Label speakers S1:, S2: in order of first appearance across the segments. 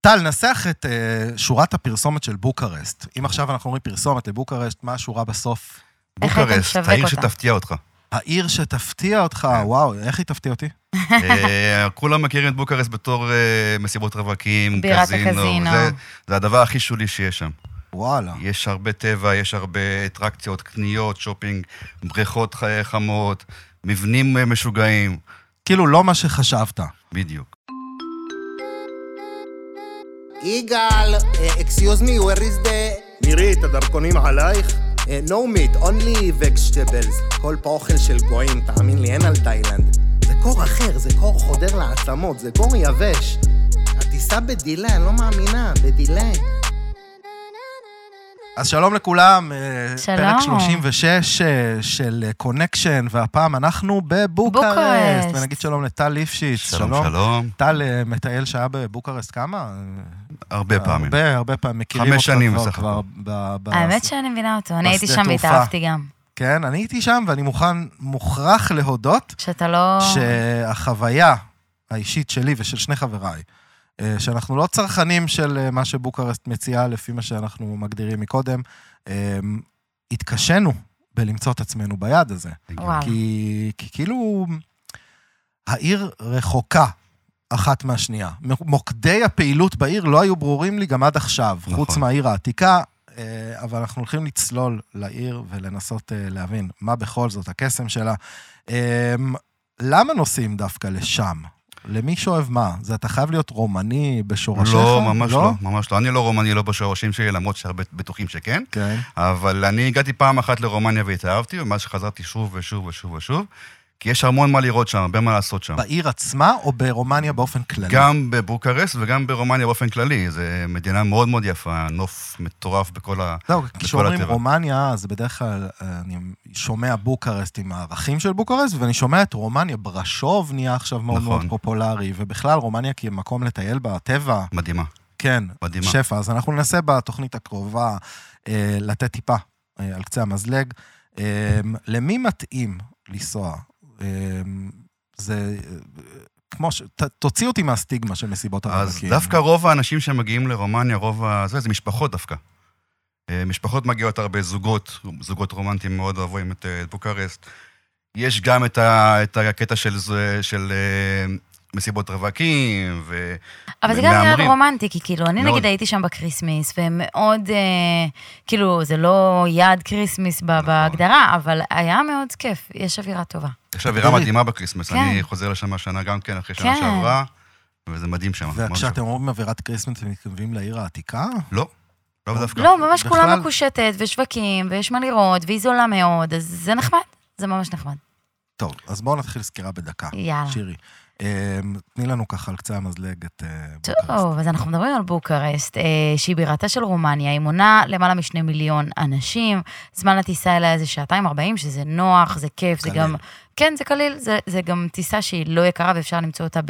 S1: טל, נסח את אה, שורת הפרסומת של בוקרשט. אם עכשיו אנחנו אומרים פרסומת לבוקרשט, מה השורה בסוף?
S2: איך היית
S3: בוקרשט,
S2: משווק
S3: העיר
S2: אותה?
S3: שתפתיע אותך.
S1: העיר שתפתיע אותך, וואו, איך היא תפתיע אותי?
S3: אה, כולם מכירים את בוקרשט בתור אה, מסיבות רווקים,
S2: בירת
S3: קזינו.
S2: הקזינו.
S3: זה- זה הדבר הכי שולי שיש שם.
S1: וואלה.
S3: יש הרבה טבע, יש הרבה אטרקציות, קניות, שופינג, בריכות ח- חמות, מבנים אה, משוגעים,
S1: כאילו, לא מה שחשבת.
S3: בדיוק.
S4: יגאל, אקסיוז מי, where is the...
S5: נירית, הדרכונים עלייך?
S4: אה, No meat, only vegetables. כל פה אוכל של גויים, תאמין לי, אין על תאילנד. זה קור אחר, זה קור חודר לעצמות, זה קור יבש. הטיסה בדיליי, אני לא מאמינה, בדיליי.
S1: אז שלום לכולם, אה,
S2: שלום.
S1: פרק 36 אה, של אה, קונקשן, והפעם אנחנו בבוקרשט.
S2: בוקרשט.
S1: ונגיד שלום לטל ליפשיץ,
S3: שלום, שלום.
S1: טל אה, מטייל שהיה בבוקרשט כמה?
S3: הרבה פעמים.
S1: הרבה, הרבה פעמים. מכירים
S3: חמש
S1: אותך
S3: שנים
S1: כבר-
S3: בסך הכל.
S1: כבר ב- ב-
S2: האמת שאני מבינה אותו, אני הייתי
S1: בשדה
S2: שם
S1: תעופה.
S2: והתאהבתי גם.
S1: כן, אני הייתי שם, ואני מוכן, מוכרח להודות
S2: שאתה לא...
S1: שהחוויה האישית שלי ושל שני חבריי, אה, שאנחנו לא צרכנים של אה, מה שבוקרשט מציעה, לפי מה שאנחנו מגדירים מקודם, אה, התקשינו בלמצוא את עצמנו ביעד הזה.
S2: וואו.
S1: כי, כי כאילו, העיר רחוקה אחת מהשנייה. מוקדי הפעילות בעיר לא היו ברורים לי גם עד עכשיו, נכון.
S3: נכון.
S1: חוץ מהעיר העתיקה, אה, אבל אנחנו הולכים לצלול לעיר ולנסות אה, להבין מה בכל זאת הקסם שלה. אה, למה נוסעים דווקא לשם? למי שאוהב מה? זה אתה חייב להיות רומני בשורשיך?
S3: לא, ממש לא, ממש לא. אני לא רומני, לא בשורשים שלי, למרות שהרבה בטוחים שכן.
S1: כן.
S3: אבל אני הגעתי פעם אחת לרומניה והתאהבתי, ומאז שחזרתי שוב ושוב ושוב ושוב, כי יש המון מה לראות שם, הרבה מה לעשות שם.
S1: בעיר עצמה או ברומניה באופן כללי?
S3: לא. גם בבוקרסט וגם ברומניה באופן כללי. זו מדינה מאוד מאוד יפה, נוף מטורף בכל ה...
S1: זהו, לא, כשאומרים
S3: הטבע.
S1: רומניה, אז בדרך כלל אה, אני שומע בוקרשט עם הערכים של בוקרשט, ואני שומע את רומניה, ברשוב נהיה עכשיו מאוד
S3: נכון.
S1: מאוד פופולרי, ובכלל רומניה כמקום לטייל בה, טבע,
S3: מדהימה.
S1: כן,
S3: מדהימה.
S1: שפע. אז אנחנו ננסה בתוכנית הקרובה אה, לתת טיפה אה, על קצה המזלג. אה, למי מתאים לנסוע? אה, זה... אה, כמו ש... ת, תוציא אותי מהסטיגמה של מסיבות
S3: אז
S1: הרווקים.
S3: דווקא רוב האנשים שמגיעים לרומניה, רוב ה... זה, זה משפחות דווקא. אה, משפחות מגיעות הרבה, זוגות, זוגות רומנטיים מאוד אוהבים את אה, את בוקרסט. יש גם את, ה, את הקטע של, זה- של אה, מסיבות רווקים, ו...
S2: אבל זה גם נראה לי
S3: מהמרים.
S2: רומנטי, כי כאילו, אני
S3: מאוד.
S2: נגיד הייתי שם בקריסמיס, והם מאוד, אה, כאילו, זה לא יעד קריסמיס ב- בהגדרה, אבל היה מאוד כיף, יש אווירה טובה.
S3: יש אווירה
S1: תראי.
S3: מדהימה בקריסמס,
S2: כן.
S3: אני חוזר לשם השנה גם כן, אחרי שנה
S2: כן.
S3: שעברה, וזה מדהים שם. מאוד
S1: וכשאתם אומרים אווירת כריסמס, אתם מתכוונים לעיר העתיקה?
S3: שווה. לא, לא דווקא.
S2: לא, ממש
S1: בכלל-
S2: כולה מקושטת, ושווקים, ויש מה לראות, והיא זולה מאוד, אז זה נחמד, זה ממש נחמד.
S1: טוב, אז בואו נתחיל סקירה בדקה.
S2: יאללה.
S1: שירי, אה, תני לנו ככה על קצה המזלג את אה, בוקרשט.
S2: טוב, אז אנחנו מדברים על בוקרשט, אה, שהיא בירתה של רומניה, היא מונה למעלה משני מיליון אנשים, זמן הטיסה אליה זה שעתיים ארבעים, שזה נוח, זה כיף, זה
S1: קליל.
S2: גם... כן, זה קליל, זה, זה גם טיסה שהיא לא יקרה ואפשר למצוא אותה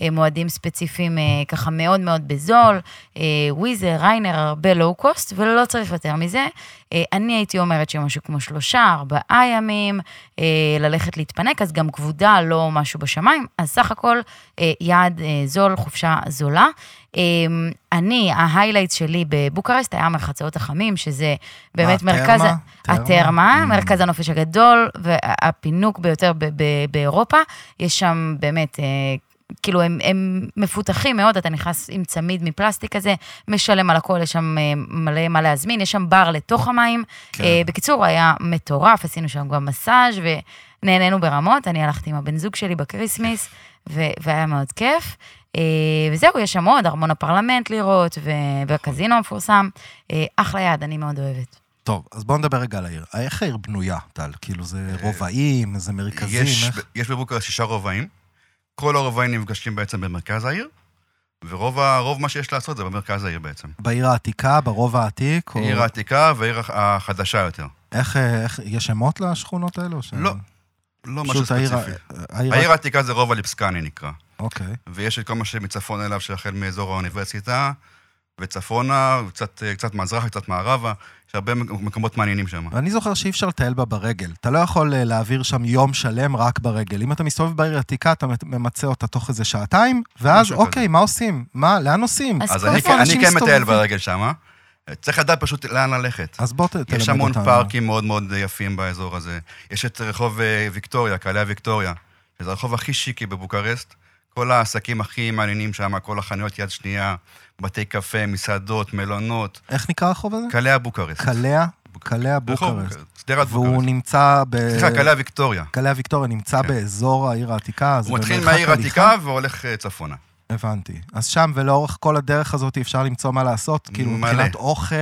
S2: במועדים ספציפיים אה, ככה מאוד מאוד בזול, אה, וויזר, ריינר, הרבה לואו קוסט, ולא צריך יותר מזה. אה, אני הייתי אומרת שמשהו כמו שלושה, ארבעה ימים, אה, ללכת להתפנק, אז גם כבודה לא משהו בשמיים, אז סך הכל אה, יעד אה, זול, חופשה זולה. אה, אני, ההיילייט שלי בבוקרשט היה מרחצאות החמים, שזה באמת
S1: מה,
S2: מרכז...
S1: התרמה?
S2: התרמה,
S1: אה, Mm.
S2: מרכז הנופש הגדול והפינוק ביותר ב- ב- באירופה. יש שם באמת... אה, כאילו, הם, הם מפותחים מאוד, אתה נכנס עם צמיד מפלסטיק כזה, משלם על הכל, יש שם אה, מלא מה להזמין, יש שם בר לתוך המים.
S1: כן.
S2: כן. בקיצור, היה מטורף, עשינו שם גם מסאז' ונהנינו ברמות, אני הלכתי עם הבן זוג שלי בקריסמיס, ו- והיה מאוד כיף. אה, וזהו, יש שם עוד, ארמון הפרלמנט לראות, ו- והקזינו המפורסם. אה, אחלה יד, אני מאוד אוהבת.
S1: טוב, אז בואו נדבר רגע על העיר. איך העיר בנויה, טל? כאילו, זה רובעים, זה מרכזים,
S3: אה, יש-
S1: איך?
S3: יש בבוקרשט שישה רובעים, כל הרובעים נפגשים בעצם במרכז העיר, ורוב ה- רוב מה שיש לעשות זה במרכז העיר בעצם.
S1: בעיר העתיקה, ברובע העתיק? או-
S3: העיר העתיקה והעיר הח- החדשה יותר.
S1: איך, אה, איך, יש שמות לשכונות האלו? או ש-
S3: לא, לא משהו
S1: כן. פשוט העיר...
S3: ספציפי.
S1: העיר...
S3: העיר העתיקה זה רובע ליפסקני נקרא,
S1: אוקיי.
S3: ויש את כל מה שמצפון אליו, שהחל מאזור האוניברסיטה, וצפונה, קצת, קצת מזרחה, קצת מערבה, יש הרבה מקומות מעניינים שם.
S1: ואני זוכר שאי אפשר לטייל בה ברגל. אתה לא יכול אה, להעביר שם יום שלם רק ברגל. אם אתה מסתובב בעיר העתיקה, אתה ממצה אותה תוך איזה שעתיים, ואז,
S3: משהו כזה.
S1: אוקיי, מה עושים? מה, לאן עושים?
S2: אז
S3: אז
S2: כל
S3: אני,
S2: פעם
S3: כן- אני
S1: אנשים
S3: כן מטייל
S1: מסתובבים.
S3: ברגל שם, צריך לדעת פשוט לאן ללכת.
S1: אז בוא ת- תלמד אותנו.
S3: יש המון פארקים מאוד מאוד יפים באזור הזה. יש את רחוב אה, ויקטוריה, קהלי ויקטוריה, שזה הרחוב הכי שיקי בבוקרשט. כל העסקים הכי מעניינים שם, כל החנויות יד שנייה, בתי קפה, מסעדות, מלונות,
S1: איך נקרא הרחוב הזה?
S3: קהלי הבוקרשט.
S1: קלע, קלע
S3: רחוב
S1: בוקרשט.
S3: שדרת
S1: והוא
S3: בוקרשט.
S1: נמצא ב...
S3: נכון, סליחה, קהלי ויקטוריה.
S1: קלע ויקטוריה נמצא
S3: כן.
S1: באזור העיר העתיקה. אז
S3: הוא מתחיל
S1: במרחק
S3: מהעיר
S1: הליכה-
S3: העתיקה והולך אה, צפונה.
S1: הבנתי. אז שם ולאורך כל הדרך הזאת אפשר למצוא מה לעשות? כאילו,
S3: מלא.
S1: מבחינת אוכל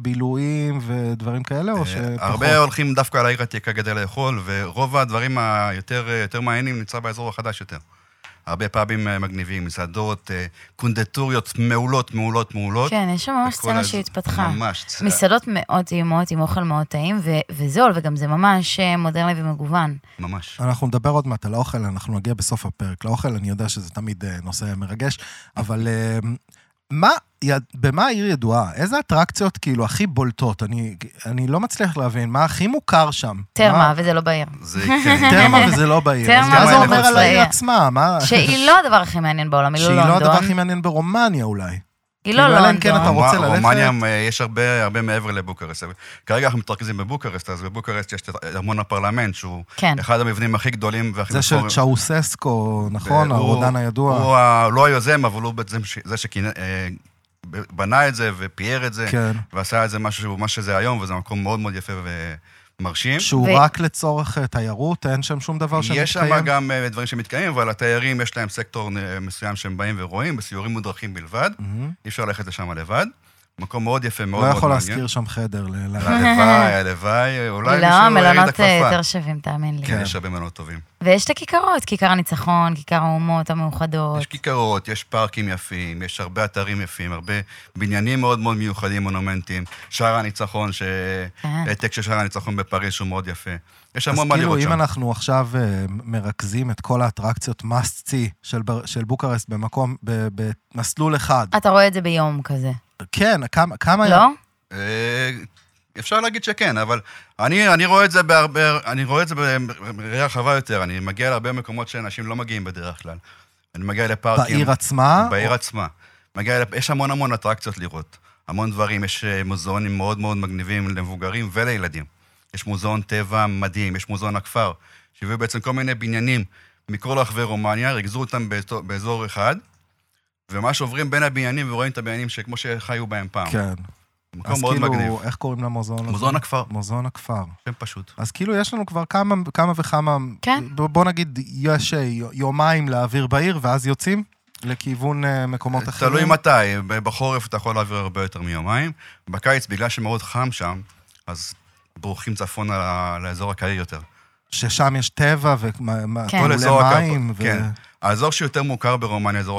S1: ובילויים ודברים כאלה, או
S3: אה,
S1: שפחות?
S3: הרבה הולכים דווקא על העיר העתיקה כדי לאכול, ורוב הדברים היותר אה, יותר מעניינים נמצא באזור החדש יותר. הרבה פאבים אה, מגניבים, מסעדות, אה, קונדטוריות מעולות, מעולות, מעולות.
S2: כן, יש שם ממש
S3: וכל
S2: סצנה
S3: הז-
S2: שהתפתחה.
S3: ממש. צ-
S2: מסעדות מאוד טעימות, עם אוכל מאוד טעים, ו- וזול, וגם זה ממש אה, מודרני ומגוון.
S3: ממש.
S1: אנחנו נדבר עוד מעט על האוכל, אנחנו נגיע בסוף הפרק לאוכל, אני יודע שזה תמיד אה, נושא מרגש, אבל אה, מה, יד- במה העיר ידועה? איזה אטרקציות כאילו הכי בולטות? אני, אני לא מצליח להבין, מה הכי מוכר שם?
S2: תרמה,
S1: מה-
S2: וזה לא בעיר.
S3: זה כן.
S1: תרמה וזה לא בעיר. אז
S2: תרמה
S1: מה זה
S3: זה
S1: אומר
S3: מחוץ
S1: על העיר
S2: לעיר.
S1: עצמה? מה...
S2: שהיא לא הדבר הכי מעניין בעולם, היא לא
S1: שהיא לא הדבר הכי
S2: לונדון. מעניין.
S1: מעניין ברומניה אולי.
S2: היא
S1: כאילו,
S2: לא
S1: אלא אם כן אתה
S2: לונדון.
S1: רוצה
S3: רומא-
S1: ללכת?
S3: רומניה, אה, יש הרבה הרבה מעבר לבוקרסט. כרגע אנחנו מתרכזים בבוקרסט, אז בבוקרסט יש את ארמון הפרלמנט, שהוא
S2: כן.
S3: אחד המבנים הכי גדולים והכי
S1: זה של
S3: מפוארים.
S1: צ'אוססקו, נכון?
S3: והוא-
S1: הרודן הידוע.
S3: הוא ה- לא היוזם, אבל הוא בעצם ש- זה שבנה את זה ופיאר את זה,
S1: כן.
S3: ועשה את זה משהו, מה שזה היום, וזה מקום מאוד מאוד יפה ומרשים.
S1: שהוא
S2: ו-
S1: רק לצורך אה, תיירות, אין שם שום דבר שמתקיים?
S3: יש שם גם אה, דברים שמתקיימים, אבל התיירים, יש להם סקטור אה, מסוים שהם באים ורואים, בסיורים מודרכים בלבד.
S1: מהמם.
S3: אי אפשר ללכת לשם לבד. מקום מאוד יפה, מאוד
S1: לא
S3: מאוד
S1: יכול
S3: מעניין. נכון.
S1: להשכיר שם חדר. ל- ל-
S3: הלוואי, הלוואי, אולי מישהו
S2: לא,
S3: ירים את
S2: מלונות אה,
S3: הכפפה.
S2: יותר שווים, תאמין לי.
S3: כן, יש הרבה מלונות טובים.
S2: ויש את הכיכרות, כיכר הניצחון, כיכר האומות
S3: יש
S2: המאוחדות.
S3: כיכרות, יש פארקים יפים, יש הרבה אתרים יפים, הרבה בניינים מאוד מאוד מיוחדים, מונומנטים. שער הניצחון, ש-
S2: כן.
S3: העתק של שער הניצחון בפריז, שהוא מאוד יפה. יש
S1: אז
S3: המון מה
S1: כאילו,
S3: לראות
S1: אם
S3: שם.
S1: אנחנו עכשיו אה, מרכזים את כל האטרקציות must see של בר- של בוקרסט במקום, ב- במסלול אחד,
S2: אתה רואה את זה ביום כזה,
S1: כן, כמה- כמה...
S2: לא?
S3: אה, אפשר להגיד שכן, אבל אני אני רואה את זה בהרבה, אני רואה את זה בראייה רחבה יותר. אני מגיע להרבה מקומות שאנשים לא מגיעים בדרך כלל. אני מגיע לפארקים.
S1: בעיר עצמה?
S3: אה, כן. בעיר עצמה. מגיע, לפ- יש המון המון אטרקציות לראות. המון דברים, יש אה, מוזיאונים מאוד מאוד מגניבים למבוגרים ולילדים. יש מוזיאון טבע מדהים, יש מוזיאון הכפר, שהביאו בעצם כל מיני בניינים מכל רחבי רומניה, ריכזו אותם באתו- באזור אחד, וממש עוברים בין הבניינים ורואים את הבניינים שכמו שחיו בהם פעם.
S1: כן.
S3: מקום
S1: אז
S3: מאוד מגניב.
S1: כאילו, איך קוראים למוזיאון הזה?
S3: מוזיאון הכפר,
S1: מוזיאון הכפר.
S3: שם פשוט.
S1: אז כאילו יש לנו כבר כמה, כמה וכמה...
S2: כן.
S1: ב- בוא נגיד, יש אה, יומיים להעביר בעיר, ואז יוצאים לכיוון אה, מקומות אחרים.
S3: תלוי מתי, ב- בחורף אתה יכול להעביר הרבה יותר מיומיים. בקיץ, בגלל שמאוד חם שם, אז בורחים צפונה ל- לאזור הקהיר יותר.
S1: ששם יש טבע ומה...
S2: כן.
S1: טיולי
S3: כל אזור
S1: מים
S3: הקרפ... כן. האזור שיותר מוכר ברומניה זה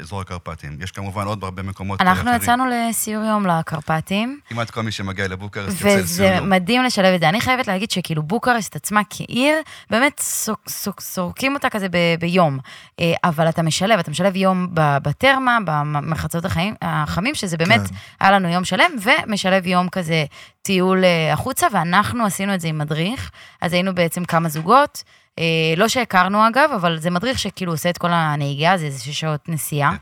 S3: אזור הקרפטים. יש כמובן עוד הרבה מקומות
S2: אנחנו
S3: אחרים.
S2: יצאנו לסיור יום לקרפטים,
S3: כמעט כל מי שמגיע לבוקרשט יוצא לא.
S2: וזה
S3: לסיום.
S2: מדהים לשלב את זה. אני חייבת להגיד שכאילו בוקרשט עצמה כעיר, באמת סוק- סוק- סורקים אותה כזה ב- ביום. אה, אבל אתה משלב, אתה משלב יום ב- בתרמה, במחצות החיים- החמים, שזה באמת,
S1: כן.
S2: היה לנו יום שלם, ומשלב יום כזה טיול אה, החוצה, ואנחנו עשינו את זה עם מדריך, אז היינו בעצם כמה זוגות. אה, לא שהכרנו אגב, אבל זה מדריך שכאילו עושה את כל הנהיגה, זה איזה שש שעות נסיעה.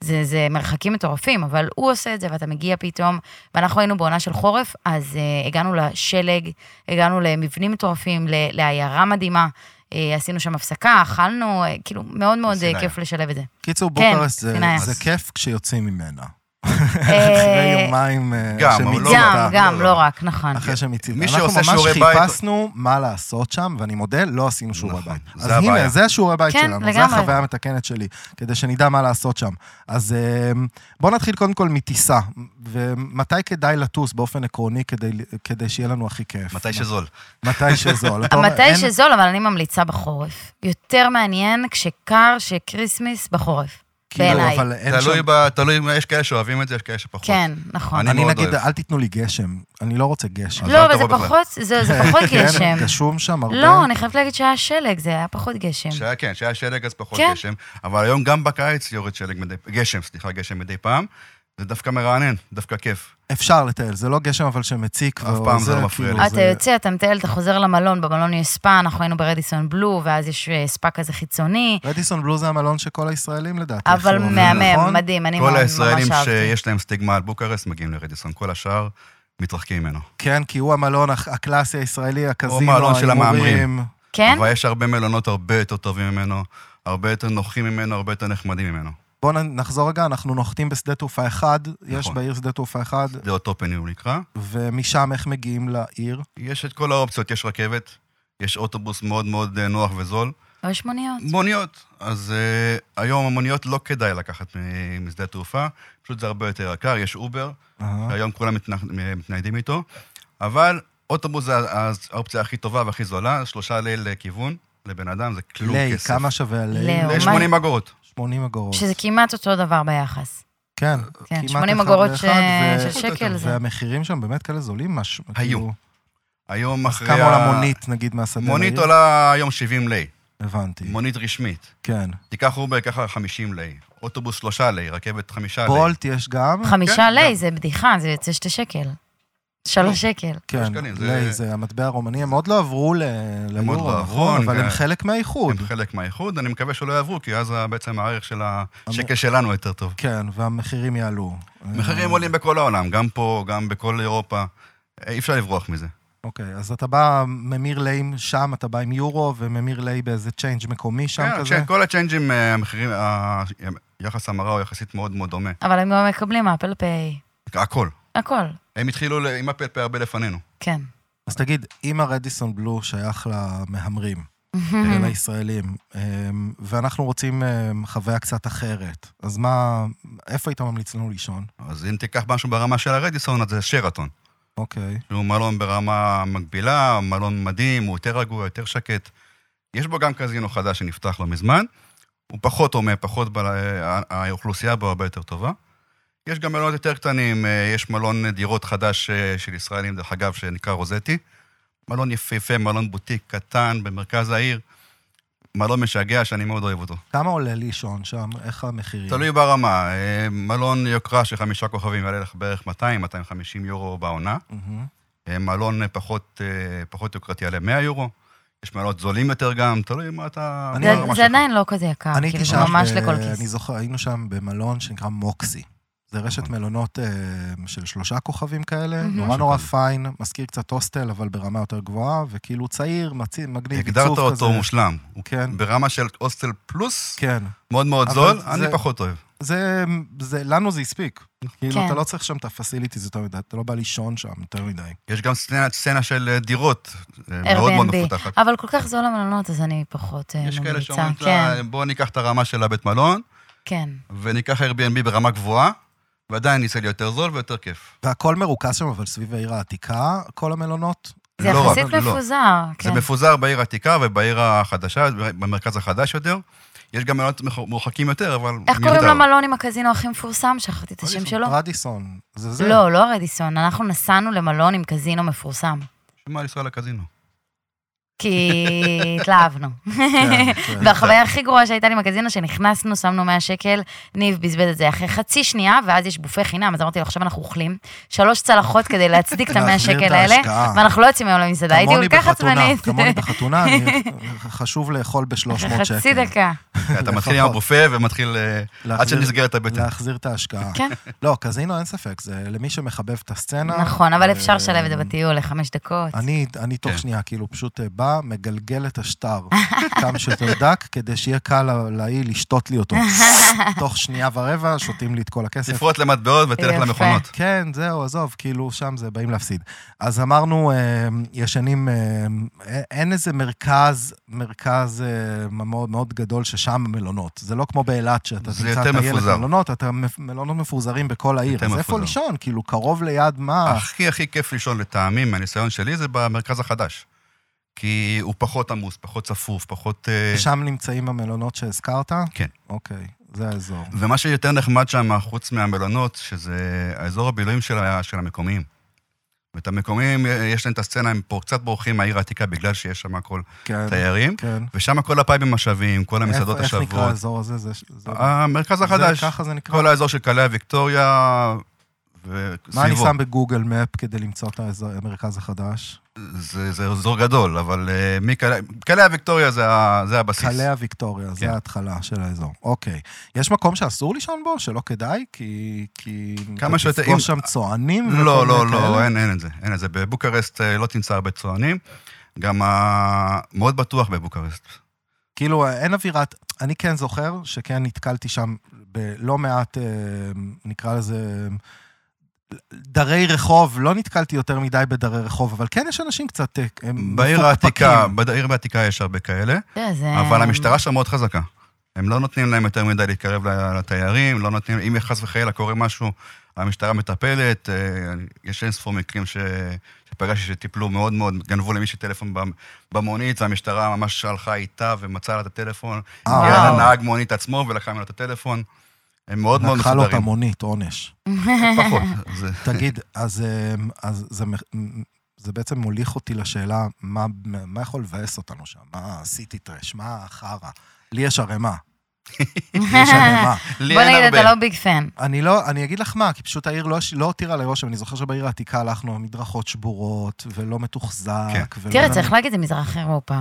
S2: זה, זה מרחקים מטורפים, אבל הוא עושה את זה ואתה מגיע פתאום, ואנחנו היינו בעונה של חורף, אז uh, הגענו לשלג, הגענו למבנים מטורפים, ל- לעיירה מדהימה, uh, עשינו שם הפסקה, אכלנו, uh, כאילו, מאוד מאוד
S3: סיני.
S2: uh, כיף לשלב את זה.
S1: קיצור,
S2: כן,
S1: בוקרסט זה,
S2: סיני.
S1: זה כיף כשיוצאים ממנה. אחרי
S2: אה,
S1: יומיים אה,
S3: גם, אבל
S1: שמיצינו
S3: לא
S2: גם,
S1: אותה.
S3: רק.
S2: גם,
S3: לא,
S2: לא
S3: לא.
S2: רק, נכון.
S1: אחרי שמיצינו.
S3: מי
S1: אנחנו
S3: שעושה
S1: ממש
S3: שיעורי בית-
S1: חיפשנו מה לעשות שם, ואני מודה, לא עשינו שיעורי
S3: נכון,
S1: בית.
S3: זה
S1: אז הנה,
S3: הבעיה.
S1: זה השיעורי בית
S2: כן,
S1: שלנו, זה
S2: לגמרי.
S1: החוויה המתקנת שלי, כדי שנדע מה לעשות שם. אז אה, בואו נתחיל קודם כל מטיסה, ומתי כדאי לטוס באופן עקרוני כדי- כדי שיהיה לנו הכי כיף.
S3: מתי שזול.
S1: מתי שזול. אתה אומר,
S2: מתי
S1: אין-
S2: שזול, אבל אני ממליצה בחורף. יותר מעניין כשקר, שכריסמס בחורף.
S1: כאילו,
S2: בעיניי.
S1: אבל אין שם...
S3: תלוי, ב... תלוי, יש כאלה שאוהבים את זה, יש כאלה שפחות.
S2: כן, נכון.
S3: אני
S1: אני
S3: מאוד
S1: נגיד,
S3: אוהב.
S1: אל תיתנו לי גשם, אני לא רוצה גשם.
S3: אז
S2: לא,
S3: אל
S2: אבל זה
S3: תבוא בכלל.
S2: פחות, זה זה פחות
S1: כן,
S2: גשם.
S1: גשום שם הרבה.
S2: לא, אני חייבת להגיד שהיה שלג, זה היה פחות גשם.
S3: שהיה, כן, שהיה שלג אז פחות
S2: כן.
S3: גשם, אבל היום גם בקיץ יורד שלג מדי... גשם, סליחה, גשם מדי פעם. זה דווקא מרענן, דווקא כיף.
S1: אפשר לטייל, זה לא גשם אבל שמציק. כאילו
S3: אף
S1: והוא
S3: פעם זה לא מפריע לי.
S2: אתה אה, יוצא, אתה מטייל, אתה חוזר למלון, במלון יש ספא, אנחנו היינו ברדיסון בלו, ואז יש אה, ספא כזה חיצוני,
S1: רדיסון בלו זה המלון שכל הישראלים לדעתי.
S2: אבל
S1: איכשהו,
S2: מהמם,
S1: נכון?
S2: מדהים, אני מאוד
S3: כל
S2: ממש
S3: הישראלים
S2: אהבתי.
S3: שיש להם סטיגמה על בוקרסט מגיעים לרדיסון, כל השאר מתרחקים ממנו.
S1: כן, כי הוא המלון הח- הקלאסי הישראלי, הקזינו,
S3: המלון של
S1: ההימורים.
S3: המהמרים.
S2: כן?
S3: אבל יש הרבה מלונות הרבה יותר טובים ממנו, הרבה יותר נוחים ממנו, הרבה יותר נחמדים ממנו.
S1: בואו נחזור רגע, אנחנו נוחתים בשדה תעופה אחד,
S3: נכון.
S1: יש בעיר שדה תעופה אחד,
S3: זה אוטופני הוא נקרא.
S1: ומשם איך מגיעים לעיר?
S3: יש את כל האופציות, יש רכבת, יש אוטובוס מאוד מאוד אה, נוח וזול.
S2: או יש מוניות.
S3: נכון. מוניות. אז uh, היום המוניות לא כדאי לקחת מ- משדה התעופה, פשוט זה הרבה יותר יקר, יש אובר,
S2: אה?
S1: אהה.
S3: היום כולם מתנח- מתניידים איתו, אבל אוטובוס זה ה- האופציה הכי טובה והכי זולה, שלושה ליל לכיוון, לבן אדם זה כלום
S1: ליי,
S3: כסף.
S1: כמה שווה ליי?
S2: לאו.
S3: זה
S2: מה?
S3: 80 אגורות.
S1: 80 אגורות.
S2: שזה כמעט אותו דבר ביחס.
S1: כן,
S2: כן,
S1: כמעט
S2: 80
S1: אחד
S2: אגורות
S1: לאחד,
S2: ש-
S1: ו-
S2: של שקל זה.
S1: והמחירים שם באמת כאלה זולים, משהו.
S3: היו.
S1: כאילו,
S3: היום אחרי...
S1: כמה
S3: ה-
S1: עולה מונית, נגיד, מהשדה לעיר?
S3: מונית עולה היום 70 לי,
S1: הבנתי,
S3: מונית רשמית.
S1: כן.
S3: תיקח אובר, ככה 50 לי, אוטובוס שלושה לי, רכבת חמישה לי.
S1: בולט יש גם?
S2: חמישה
S3: כן,
S2: לי
S3: גם.
S2: זה בדיחה, זה יוצא שתי שקל. שלוש שקל.
S1: כן,
S3: שקלים, זה-
S1: ליי, זה המטבע הרומני, הם עוד לא עברו ל-
S3: עוד
S1: ליורו,
S3: לא עברו,
S1: נכון?
S3: אני
S1: אבל הם
S3: יודע.
S1: חלק מהאיחוד.
S3: הם חלק מהאיחוד, אני מקווה שלא יעברו, כי אז בעצם הערך של השקל שלנו יותר טוב.
S1: כן, והמחירים יעלו.
S3: מחירים עולים בכל העולם, גם פה, גם בכל אירופה. אי אפשר לברוח מזה.
S1: אוקיי, אז אתה בא, ממיר ליים שם, אתה בא עם יורו, וממיר ליי באיזה צ'יינג' מקומי שם
S3: כן,
S1: כזה?
S3: כן, כל הצ'יינג'ים, אה, המחירים, ה- יחס המרה הוא יחסית מאוד מאוד דומה.
S2: אבל הם גם מקבלים אפל פיי,
S3: הכל.
S2: הכל,
S3: הם התחילו ל- עם הפלפה הרבה לפנינו.
S2: כן.
S1: אז תגיד, אם הרדיסון בלו שייך למהמרים,
S3: Mm-hmm.
S1: אה, לישראלים, אה, ואנחנו רוצים אה, חוויה קצת אחרת, אז מה, איפה היית ממליץ לנו לישון?
S3: אז אם תיקח משהו ברמה של הרדיסון, אז זה שרתון.
S1: אוקיי.
S3: שהוא מלון ברמה מקבילה, מלון מדהים, הוא יותר רגוע, יותר שקט. יש בו גם קזינו חדש שנפתח לא מזמן. הוא פחות הומה, פחות, בל... אה, האוכלוסייה בו הרבה יותר טובה. יש גם מלונות יותר קטנים, אה, יש מלון דירות חדש אה, של ישראלים, דרך אגב, שנקרא רוזטי. מלון יפהפה, מלון בוטיק קטן במרכז העיר. מלון משגע שאני מאוד אוהב אותו.
S1: כמה עולה לישון שם? איך המחירים?
S3: תלוי ברמה, אה, מלון יוקרה של חמישה כוכבים יעלה לך בערך 200-250 יורו בעונה.
S1: מהמם.
S3: אה, מלון אה, פחות, אה, פחות יוקרתי יעלה 100 יורו. יש מלונות זולים יותר גם, תלוי מה אתה...
S1: אני-
S3: מה
S2: זה-
S3: הרמה
S2: זה
S3: שלך.
S2: עדיין לא כזה יקר,
S1: אני
S2: כאילו,
S1: הייתי
S2: זה
S1: שם,
S2: ממש
S1: ב-
S3: אה,
S2: לכל
S1: אני
S2: כיס.
S1: זוכר, היינו שם במלון שנקרא מוקסי. זה רשת
S3: נכון.
S1: מלונות אה, של שלושה כוכבים כאלה,
S2: מהמם.
S1: נורא נורא פיין, מזכיר קצת הוסטל, אבל ברמה יותר גבוהה, וכאילו צעיר, מצי- מגניב, עיצוב כזה.
S3: הגדרת אותו מושלם. הוא
S1: כן.
S3: ברמה של הוסטל פלוס,
S1: כן.
S3: מאוד מאוד
S1: אבל
S3: זול,
S1: זה-
S3: אני פחות אוהב.
S1: זה, זה, לנו זה הספיק. כאילו,
S2: כן.
S1: אתה לא צריך שם את הפסיליטיז יותר מדי, אתה לא בא לישון שם יותר מדי.
S3: יש גם סצנה- סצנה של אה, דירות, אה, מאוד מאוד
S2: Airbnb.
S3: מפותחת.
S2: אבל כל כך זול המלונות, אז אני פחות אה,
S3: יש כאלה
S2: ממליצה.
S3: שאומרים,
S2: כן,
S3: לה, בוא ניקח את הרמה של הבית מלון,
S2: כן.
S3: וניקח Airbnb ברמה גבוהה, ועדיין נצא לי יותר זול ויותר כיף.
S1: והכל מרוכז שם, אבל סביב העיר העתיקה, כל המלונות.
S2: זה
S3: לא רק,
S2: יחסית
S3: לא.
S2: מפוזר,
S3: זה
S2: כן.
S3: מפוזר בעיר העתיקה ובעיר החדשה, במרכז החדש יותר. יש גם מלונות מח- מורחקים יותר, אבל
S2: איך קוראים למלון עם הקזינו הכי מפורסם? שכחתי את השם
S3: רדיסון.
S2: שלו.
S1: אה, רדיסון, זה זה.
S2: לא, לא הרדיסון, אנחנו נסענו למלון עם קזינו מפורסם.
S3: שמע על ישראל הקזינו.
S2: כי התלהבנו.
S1: כן, כן.
S2: והחוויה הכי גרועה שהייתה לי בקזינו, שנכנסנו, שמנו 100 שקל, ניב בזבז את זה אחרי חצי שנייה, ואז יש בופה חינם, אז אמרתי לו, עכשיו אנחנו אוכלים שלוש צלחות כדי להצדיק את המאה
S1: להחזיר את
S2: שקל האלה,
S1: ההשקעה.
S2: ואנחנו לא יוצאים היום למסעדה, הייתי
S1: כמוני
S2: כל כך
S1: בחתונה,
S2: עצבנית.
S1: כמוני בחתונה, אני- חשוב לאכול ב-300 שקל.
S2: חצי דקה.
S3: אתה מתחיל עם
S1: לפחות.
S3: הבופה ומתחיל... אה, עד
S1: להחזיר-
S3: שנסגרת הבטן.
S1: להחזיר את ההשקעה.
S2: כן.
S1: לא, קזינו אין ספק, זה למי שמחבב את הסצנה.
S2: נכון, אבל אפשר
S1: אה,
S2: לשלב את זה בטיול לחמש דקות.
S1: אני, אני תוך
S3: כן.
S1: שנייה, כאילו, פשוט אה, בא, מגלגל את השטר כמה שיותר דק, כדי שיהיה קל לה- להיא לשתות לי אותו. תוך שנייה ורבע, שותים לי את כל הכסף.
S3: ספרות למטבעות ותלך
S2: יפה.
S3: למכונות.
S1: כן, זהו, עזוב, כאילו, שם זה, באים להפסיד. אז אמרנו, אה, ישנים, אה, אה, אין איזה מרכז, מרכז אה, מאוד, מאוד גדול ששם המלונות. זה לא כמו באילת, שאתה
S3: זה
S1: תמצא
S3: יותר
S1: את הילד
S3: מפוזר.
S1: מלונות, אתה מפ- מלונות מפוזרים בכל העיר.
S3: יותר
S1: אז איפה
S3: מפוזר.
S1: לישון? כאילו, קרוב ליד מה?
S3: אה, הכי הכי כיף לישון לטעמי, מהניסיון שלי, זה במרכז החדש. כי הוא פחות עמוס, פחות צפוף, פחות... אה,
S1: שם נמצאים המלונות שהזכרת?
S3: כן.
S1: אוקיי, זה האזור.
S3: ומה שיותר נחמד שם, חוץ מהמלונות, שזה האזור הבילויים של ה- של המקומיים. ואת המקומיים, אה, יש להם את הסצנה, הם פה קצת בורחים מהעיר העתיקה בגלל שיש שם הכל
S1: כן,
S3: תיירים,
S1: כן.
S3: ושם כל הפאבים השווים, כל המסעדות
S1: איפה- איך נקרא
S3: השוות.
S1: האזור הזה? זה- זה-
S3: המרכז
S1: זה-
S3: החדש,
S1: ככה זה נקרא.
S3: כל האזור של קלה ויקטוריה
S1: מה אני
S3: וסביבו.
S1: שם בגוגל מפ כדי למצוא את האזור- המרכז החדש?
S3: זה זה אזור גדול, אבל אה, מקלה, קלה ויקטוריה זה ה- זה הבסיס.
S1: קלע ויקטוריה,
S3: כן.
S1: זה ההתחלה של האזור. אוקיי. יש מקום שאסור לישון בו? שלא כדאי? כי... כי...
S3: כמה
S1: אתה
S3: שיותר- אם-
S1: תפגוש שם צוענים? וכל
S3: לא, לא,
S1: מיני כאלה?
S3: לא, אין, אין את זה, אין את זה. בבוקרשט אה, לא תמצא הרבה צוענים. גם ה... מאוד בטוח בבוקרשט.
S1: כאילו, אין אווירת... אני כן זוכר שכן נתקלתי שם בלא מעט, אה, נקרא לזה, דרי רחוב. לא נתקלתי יותר מדי בדרי רחוב, אבל כן יש אנשים קצת... אה, הם
S3: בעיר
S1: מפוקפקים.
S3: העתיקה, בעיר העתיקה יש הרבה כאלה,
S2: תראה, זה...
S1: אמ.
S3: אבל המשטרה שם מאוד חזקה. הם לא נותנים להם יותר מדי להתקרב ל- לתיירים, לא נותנים, אם חס וחלילה קורה משהו, המשטרה מטפלת, אה, אני- יש אין ספור מקרים ש... שפגשתי שטיפלו מאוד מאוד, גנבו למישהי טלפון במ- במונית, והמשטרה ממש הלכה איתה ומצאה לה את הטלפון,
S1: אה,
S3: הגיעה
S2: וואו.
S3: לנהג מונית עצמו ולקחה ממנו את הטלפון. הם מאוד מאוד
S1: לקחה לו את
S3: מסודרים.
S1: המונית, עונש.
S3: פחות. זה-
S1: תגיד, אז, אמ, אז זה, מ- זה בעצם מוליך אותי לשאלה, מה, מה יכול לבאס אותנו שם? מה עשיתי טרש? מה חרא? לי יש ערימה. לי יש ערימה.
S3: לי
S2: בוא
S3: אין
S2: נגיד,
S3: הרבה.
S2: אתה לא ביג פן.
S1: אני לא, אני אגיד לך מה, כי פשוט העיר לא, לא הותירה לי רושם. אני זוכר שבעיר העתיקה הלכנו, המדרכות שבורות, ולא מתוחזק.
S3: כן.
S1: ולא
S2: תראה, צריך להגיד, זה מזרח אירופה.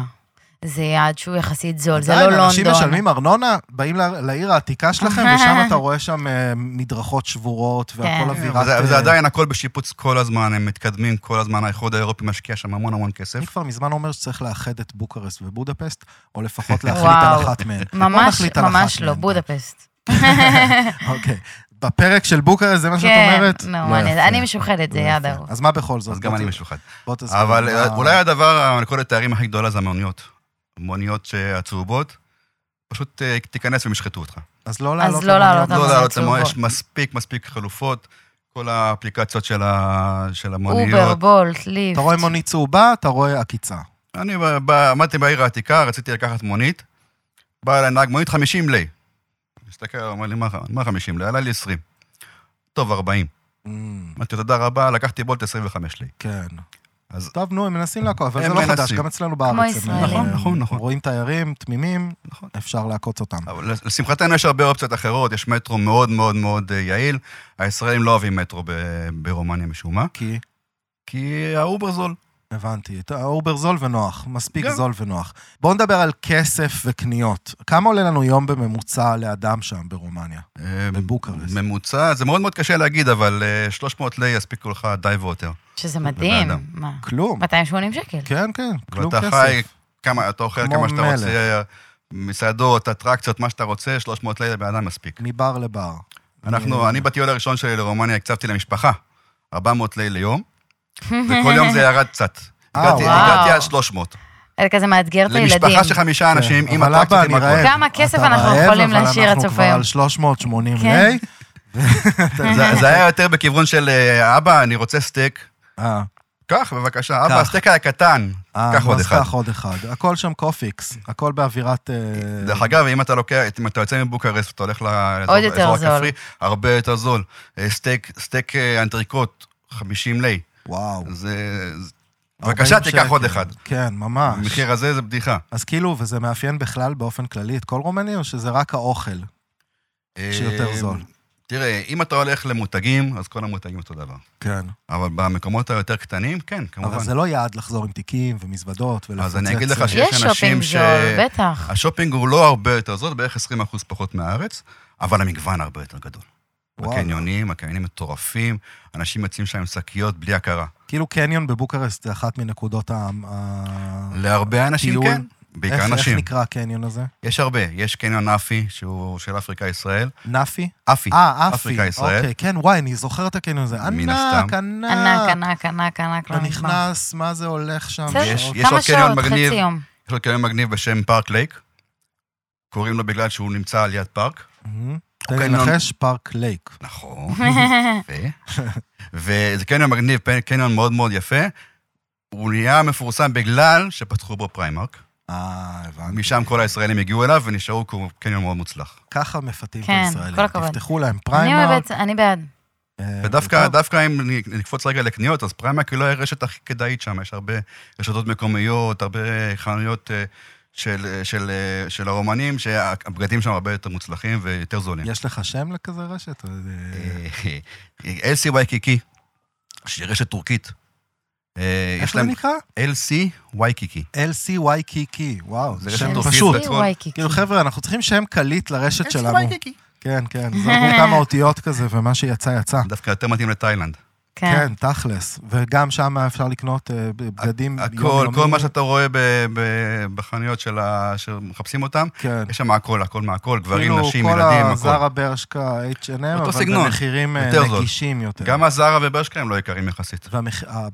S2: זה יעד שהוא יחסית זול, זה
S1: עדיין,
S2: לא
S1: אנשים
S2: לונדון.
S1: משלמים ארנונה, באים ל- לעיר העתיקה שלכם, ושם אתה רואה שם אה, מדרכות שבורות, והכל
S2: כן.
S1: אווירת...
S3: אבל זה- אבל
S1: אה,
S3: זה עדיין הכל בשיפוץ כל הזמן, הם מתקדמים כל הזמן, האיחוד האירופי משקיע שם המון המון כסף.
S1: אני כבר מזמן אומר שצריך לאחד את בוקרסט ובודפסט, או לפחות להחליט על
S2: וואו.
S1: אחת מהן. בוא
S2: ממש,
S1: נחליט על אחת
S2: ממש לא,
S1: מהן.
S2: בודפסט.
S1: אוקיי. בפרק של בוקרסט זה מה שאת
S2: כן,
S1: אומרת?
S2: נו,
S1: לא
S2: אני-
S1: יפה.
S2: אני משוחדת, זה
S1: לא
S2: יעד
S1: יפה.
S2: ארוך.
S1: אז מה בכל זאת?
S3: אז גם
S1: בוא
S3: אני
S1: ת-
S3: משוחד.
S1: בוא תסביר.
S3: אבל אה,
S1: מה-
S3: אולי הדבר, המלכודת התארים הכי גדולה זה המוניות. מוניות הצהובות, פשוט אה, תיכנס והם ישחטו אותך.
S1: אז לא
S2: אז
S1: לעלות
S2: לא לעלות
S1: למוניות.
S3: לא
S2: המוניות
S3: לעלות למוניות, יש
S2: הצהובות.
S3: מספיק מספיק חלופות, כל האפליקציות של ה- של
S2: אובר,
S3: המוניות.
S2: בולט, ליפט.
S1: אתה רואה מונית צהובה, אתה רואה עקיצה.
S3: אני ב- ב- עמדתי בעיר העתיקה, רציתי לקחת מונית, בא אליי נהג מונית 50 לי. מסתכל, הוא אומר לי, "מה- מה 50 לי? עלה לי 20. טוב, 40.
S1: אמ,
S3: אמרתי, תודה רבה, לקחתי בולט 25 לי.
S1: כן.
S3: אז-
S1: טוב, נו, הם מנסים לעקוב, אבל
S3: הם
S1: זה לא חדש,
S3: מנסים.
S1: גם אצלנו בארץ.
S2: כמו
S1: הם,
S2: ישראלים.
S3: נכון,
S1: אה,
S3: נכון, נכון.
S1: רואים תיירים, תמימים,
S3: נכון.
S1: אפשר לעקוץ אותם.
S3: אבל לשמחתנו יש הרבה אופציות אחרות, יש מטרו מאוד מאוד מאוד אה, יעיל. הישראלים לא אוהבים מטרו ב- ברומניה משום מה,
S1: כי,
S3: כי האובר זול.
S1: הבנתי, אתה- אובר זול ונוח, מספיק
S3: גם.
S1: זול ונוח. בואו נדבר על כסף וקניות. כמה עולה לנו יום בממוצע לאדם שם ברומניה?
S3: אה,
S1: בבוקרשט.
S3: ממוצע, זה מאוד מאוד קשה להגיד, אבל אה, 300 לי יספיקו לך די ויותר.
S2: שזה מדהים.
S3: לאדם.
S2: מה?
S1: כלום.
S2: 280 שקל.
S1: כן, כן, כלום
S3: ואתה
S1: כסף.
S3: חי כמה, אתה אוכל
S1: כמו
S3: כמה שאתה
S1: מלך.
S3: רוצה, מסעדות, אטרקציות, מה שאתה רוצה, 300 לי לבן אדם מספיק.
S1: מבר לבר. אה,
S3: אנחנו, אני בטיול הראשון שלי לרומניה הקצבתי למשפחה, 400 לי ליום, וכל יום זה ירד קצת.
S1: אה,
S3: הגעתי
S1: וואו.
S3: הגעתי על 300.
S2: זה כזה מאתגר את הילדים.
S3: למשפחה של חמישה אנשים,
S1: כן,
S3: עם
S1: אבל אבא,
S3: אטרקציות, עם
S1: אני רעב.
S3: הכול.
S2: כמה כסף
S1: אתה
S2: אנחנו
S1: רעב,
S2: יכולים
S1: אבל
S2: להשאיר עד סוף
S1: אנחנו
S2: היום?
S1: כבר על 380
S2: כן.
S1: לי.
S3: זה- זה היה יותר בכיוון של אה, אבא, אני רוצה סטייק.
S1: אה,
S3: קח, בבקשה. אבא,
S1: קח.
S3: הסטייק היה קטן.
S1: אה,
S3: קח עוד
S1: אז
S3: אחד.
S1: קח עוד אחד. הכל שם קופיקס, הכל באווירת... אה,
S3: דרך אגב, אם אתה לוקח, אם אתה יוצא מבוקרסט ואתה הולך לאזור
S2: עוד יותר
S3: לאזור
S2: זול.
S3: הכפרי, הרבה יותר זול. אה, סטייק, סטייק אה, אנטריקוט, 50 לי.
S1: וואו.
S3: זה... זה-
S1: 40
S3: בבקשה, תיקח
S1: שקל.
S3: עוד אחד.
S1: כן, ממש.
S3: המחיר הזה זה בדיחה.
S1: אז כאילו, וזה מאפיין בכלל, באופן כללי, את כל רומניה, או שזה רק האוכל שיותר
S3: אה,
S1: זול?
S3: תראה, אם אתה הולך למותגים, אז כל המותגים אותו דבר.
S1: כן.
S3: אבל במקומות היותר קטנים, כן, כמובן.
S1: אבל זה לא יעד לחזור עם תיקים ומזוודות ולפוצץ.
S3: אז אני אגיד לך
S1: אה,
S3: שיש
S2: יש שופינג
S3: אנשים ש-
S2: זול, בטח.
S3: השופינג הוא לא הרבה יותר זול, בערך 20 אחוז פחות מהארץ, אבל המגוון הרבה יותר גדול.
S1: וואו.
S3: הקניונים, הקניונים מטורפים, אנשים יוצאים שם עם שקיות בלי הכרה.
S1: כאילו קניון בבוקרשט זה אחת מנקודות ה... ה-
S3: להרבה אנשים
S1: טיול.
S3: כן,
S1: איך-
S3: בעיקר נשים.
S1: איך נקרא הקניון הזה?
S3: יש הרבה, יש קניון אפי, שהוא של אפריקה ישראל.
S1: נאפי?
S3: אפי,
S1: אה, אפי.
S3: אפריקה ישראל.
S1: אוקיי, כן, וואי, אני זוכר את הקניון הזה.
S3: מן
S1: ענק,
S3: הסתם.
S1: ענק.
S2: ענק, ענק, ענק, ענק, לא
S1: אה, אתה
S2: נגמר.
S1: נכנס, מה זה הולך שם? אוקיי.
S2: בסדר,
S3: יש-
S1: שעות.
S3: יש
S2: כמה
S3: עוד קניון
S2: שעות,
S3: מגניב.
S2: חצי יום.
S3: יש לו קניון מגניב בשם פארק לייק. קוראים לו בגלל שהוא נמצא על יד פארק.
S1: מהמם. תן לי
S3: קניון-
S1: לנחש, פארק לייק.
S3: נכון, יפה. וזה קניון מגניב, קניון מאוד מאוד יפה. הוא נהיה מפורסם בגלל שפתחו בו פריימרק.
S1: אה, הבנתי.
S3: משם כל הישראלים הגיעו אליו ונשארו קניון מאוד מוצלח.
S1: ככה מפתים את
S2: כן,
S1: הישראלים.
S2: כל הכבוד.
S1: תפתחו להם
S2: אני
S1: פריימרק,
S2: אוהבת, אני בעד.
S1: אה,
S3: ודווקא
S1: טוב.
S3: דווקא אם נ- נקפוץ רגע לקניות, אז פריימק היא לא הרשת הכי כדאית שם, יש הרבה רשתות מקומיות, הרבה חנויות אה, של, של, אה, של הרומנים, שהבגדים שם הרבה יותר מוצלחים ויותר זולים.
S1: יש לך שם לכזה רשת? אה,
S3: LC וייקיקי, שהיא רשת טורקית. אה,
S1: איך
S3: יש
S1: זה
S3: להם
S1: נקרא?
S3: LC וייקיקי.
S1: LCY קיקי, וואו,
S3: זה
S1: שם
S3: רשת אופית
S1: כן, פשוט.
S3: בצפון.
S2: וואי, קיקי.
S1: כאילו, חבר'ה, אנחנו צריכים שם קליט לרשת שלנו.
S3: וייקיקי.
S1: כן, כן, זרקו כמה אותיות כזה, ומה שיצא, יצא.
S3: דווקא יותר מתאים לתאילנד.
S2: כן.
S1: כן, תכלס. וגם שם אפשר לקנות אה, בגדים
S3: הכל,
S1: יומיומיים.
S3: כל מה שאתה רואה ב- ב- בחנויות של ה- שמחפשים אותם,
S1: כן.
S3: יש שם הכל, הכל מהכל, גברים,
S1: כאילו,
S3: נשים,
S1: כל
S3: ילדים,
S1: הזרה
S3: הכל.
S1: ברשקה, H&M,
S3: אותו
S1: אבל
S3: סגנון,
S1: במחירים אה,
S3: יותר זול.
S1: נגישים יותר.
S3: גם הזרה וברשקה הם לא יקרים יחסית.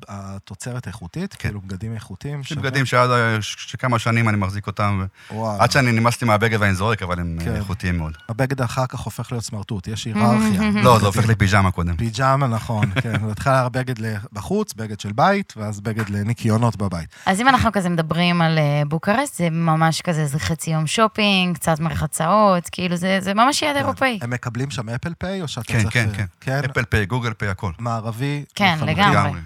S1: והתוצרת איכותית, כאילו בגדים איכותיים.
S3: יש
S1: שווה.
S3: כן. בגדים שעד ה- ש- שכמה שנים אני מחזיק אותם,
S1: וואו.
S3: עד שאני נמאסתי מהבגד ואני זורק, אבל הם
S1: כן.
S3: אה, איכותיים מאוד.
S1: הבגד אחר כך הופך להיות סמרטוט, יש היררכיה.
S3: לא, זה הופך לפיג'מה קודם.
S1: פיג'מה, נכון, כן. בהתחלה בגד בחוץ, בגד של בית, ואז בגד לניקיונות בבית.
S2: אז אם אנחנו כזה מדברים על אה, בוקרשט, זה ממש כזה, זה חצי יום שופינג, קצת מרחצאות, כאילו זה זה ממש יעד אירופאי.
S1: הם מקבלים שם אפל פיי, או שאתה
S3: כן,
S1: צריך...
S3: כן,
S1: אה,
S3: כן.
S1: כן,
S3: אפל פיי, גוגל פיי, הכל.
S1: מערבי.
S2: כן,
S1: לחלוטין.
S2: לגמרי.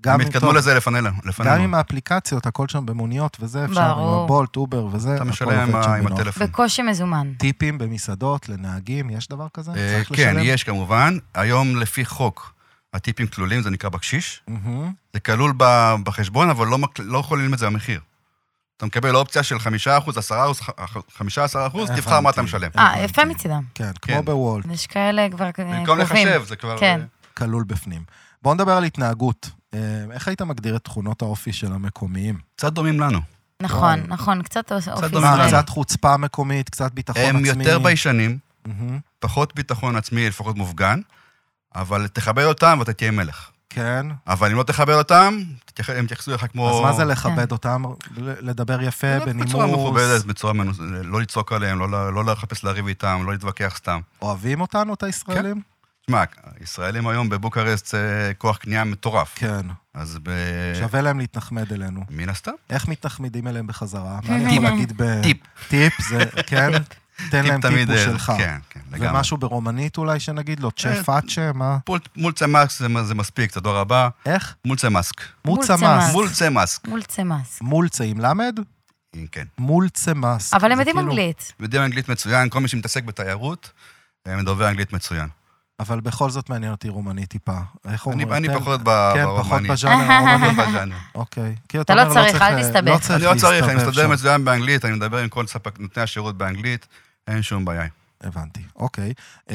S1: גם
S3: הם
S1: עם-
S3: התקדמו
S1: טוב,
S3: לזה לפנינו.
S1: גם עם
S3: לפנינו.
S1: האפליקציות, הכל שם במוניות וזה, אפשר עם
S2: ברור.
S1: הבולט, אובר וזה,
S3: אתה
S1: הכל
S3: משלם עם
S1: עובד שם
S3: ה- עם
S1: בנוח.
S3: הטלפון.
S2: בקושי מזומן.
S1: טיפים במסעדות לנהגים, יש דבר כזה?
S3: אה,
S1: צריך
S3: כן,
S1: לשלם?
S3: יש כמובן. היום לפי חוק, הטיפים כלולים, זה נקרא בקשיש.
S1: מהמם.
S3: זה כלול ב- בחשבון, אבל לא מק- לא כוללים את זה במחיר. אתה מקבל אופציה של 5%, 10%, 15%, תבחר מה
S1: הבנתי.
S3: אתה משלם.
S2: אה, יפה מצידם.
S1: כן, כמו
S3: כן.
S1: בוולט,
S2: יש כאלה כבר אה, קרובים.
S3: במקום
S1: אוקיי.
S3: לחשב, זה כבר... אה,
S2: כן.
S1: כלול בפנים. בואו נדבר על התנהגות. אה, איך היית מגדיר את תכונות האופי של המקומיים?
S3: קצת דומים לנו.
S2: נכון, נכון, קצת אופי
S3: דומה.
S1: מה,
S2: ישראלי.
S1: קצת חוצפה מקומית, קצת ביטחון
S3: הם
S1: עצמי?
S3: יותר ביישנים,
S1: מהמם.
S3: פחות ביטחון עצמי, לפחות מופגן, אבל תכבד אותם ואתה תהיה מלך.
S1: כן.
S3: אבל אם לא תכבד אותם, תתייח- הם יתייחסו אליך כמו... אה,
S1: אז מה זה
S2: כן.
S1: לכבד אותם? ל- לדבר יפה,
S3: בצורה מכובדת,
S1: בנימוס?
S3: בצורה מנוס... לא לצעוק עליהם, לא, ל- לא לחפש לריב איתם, לא להתווכח סתם.
S1: אוהבים אותנו, את הישראלים?
S3: תשמע, ישראלים היום בבוקרשט זה כוח קנייה מטורף.
S1: כן.
S3: אז ב...
S1: שווה להם להתנחמד אלינו.
S3: מן הסתם.
S1: איך מתנחמדים אליהם בחזרה? מה אני יכול להגיד ב...
S3: טיפ.
S1: טיפ, זה, כן? תן להם
S3: טיפ
S1: טיפו
S3: אה,
S1: שלך.
S3: כן, כן, לגמרי.
S1: ומשהו ברומנית אולי שנגיד לו, צ'ה
S3: אה,
S1: פאצ'ה, מה?
S3: מול, מול צמאסק זה, זה מספיק, תודה רבה.
S1: איך?
S3: מול צמאסק.
S1: מוצה
S2: מס.
S1: מס.
S3: מול צמאסק.
S2: מול צמאס.
S1: מולצה עם למד?
S3: כן.
S1: מולצה מס.
S2: אבל הם
S1: זה
S2: יודעים
S1: כאילו-
S2: אנגלית.
S3: יודעים אנגלית מצוין, כל מי שמתעסק בתיירות, אה, דובר אנגלית מצוין.
S1: אבל בכל זאת מעניין אותי רומנית טיפה. איך
S3: אני,
S1: אומרים?
S3: אני
S1: תן-
S3: פחות ב-
S1: כן, פחות
S3: ברומנית.
S1: בז'אנר הרומני.
S3: בז'אנר.
S1: אוקיי. כי
S2: אתה לא
S1: אומר,
S2: צריך, אל
S1: אה,
S2: תסתבך.
S1: לא צריך
S3: אני לא צריך, אני
S1: להסתבך
S3: מסתדר
S1: שם.
S3: מצוין באנגלית, אני מדבר עם כל ספק נותני השירות באנגלית, אין שום בעיה.
S1: הבנתי, אוקיי. אמ,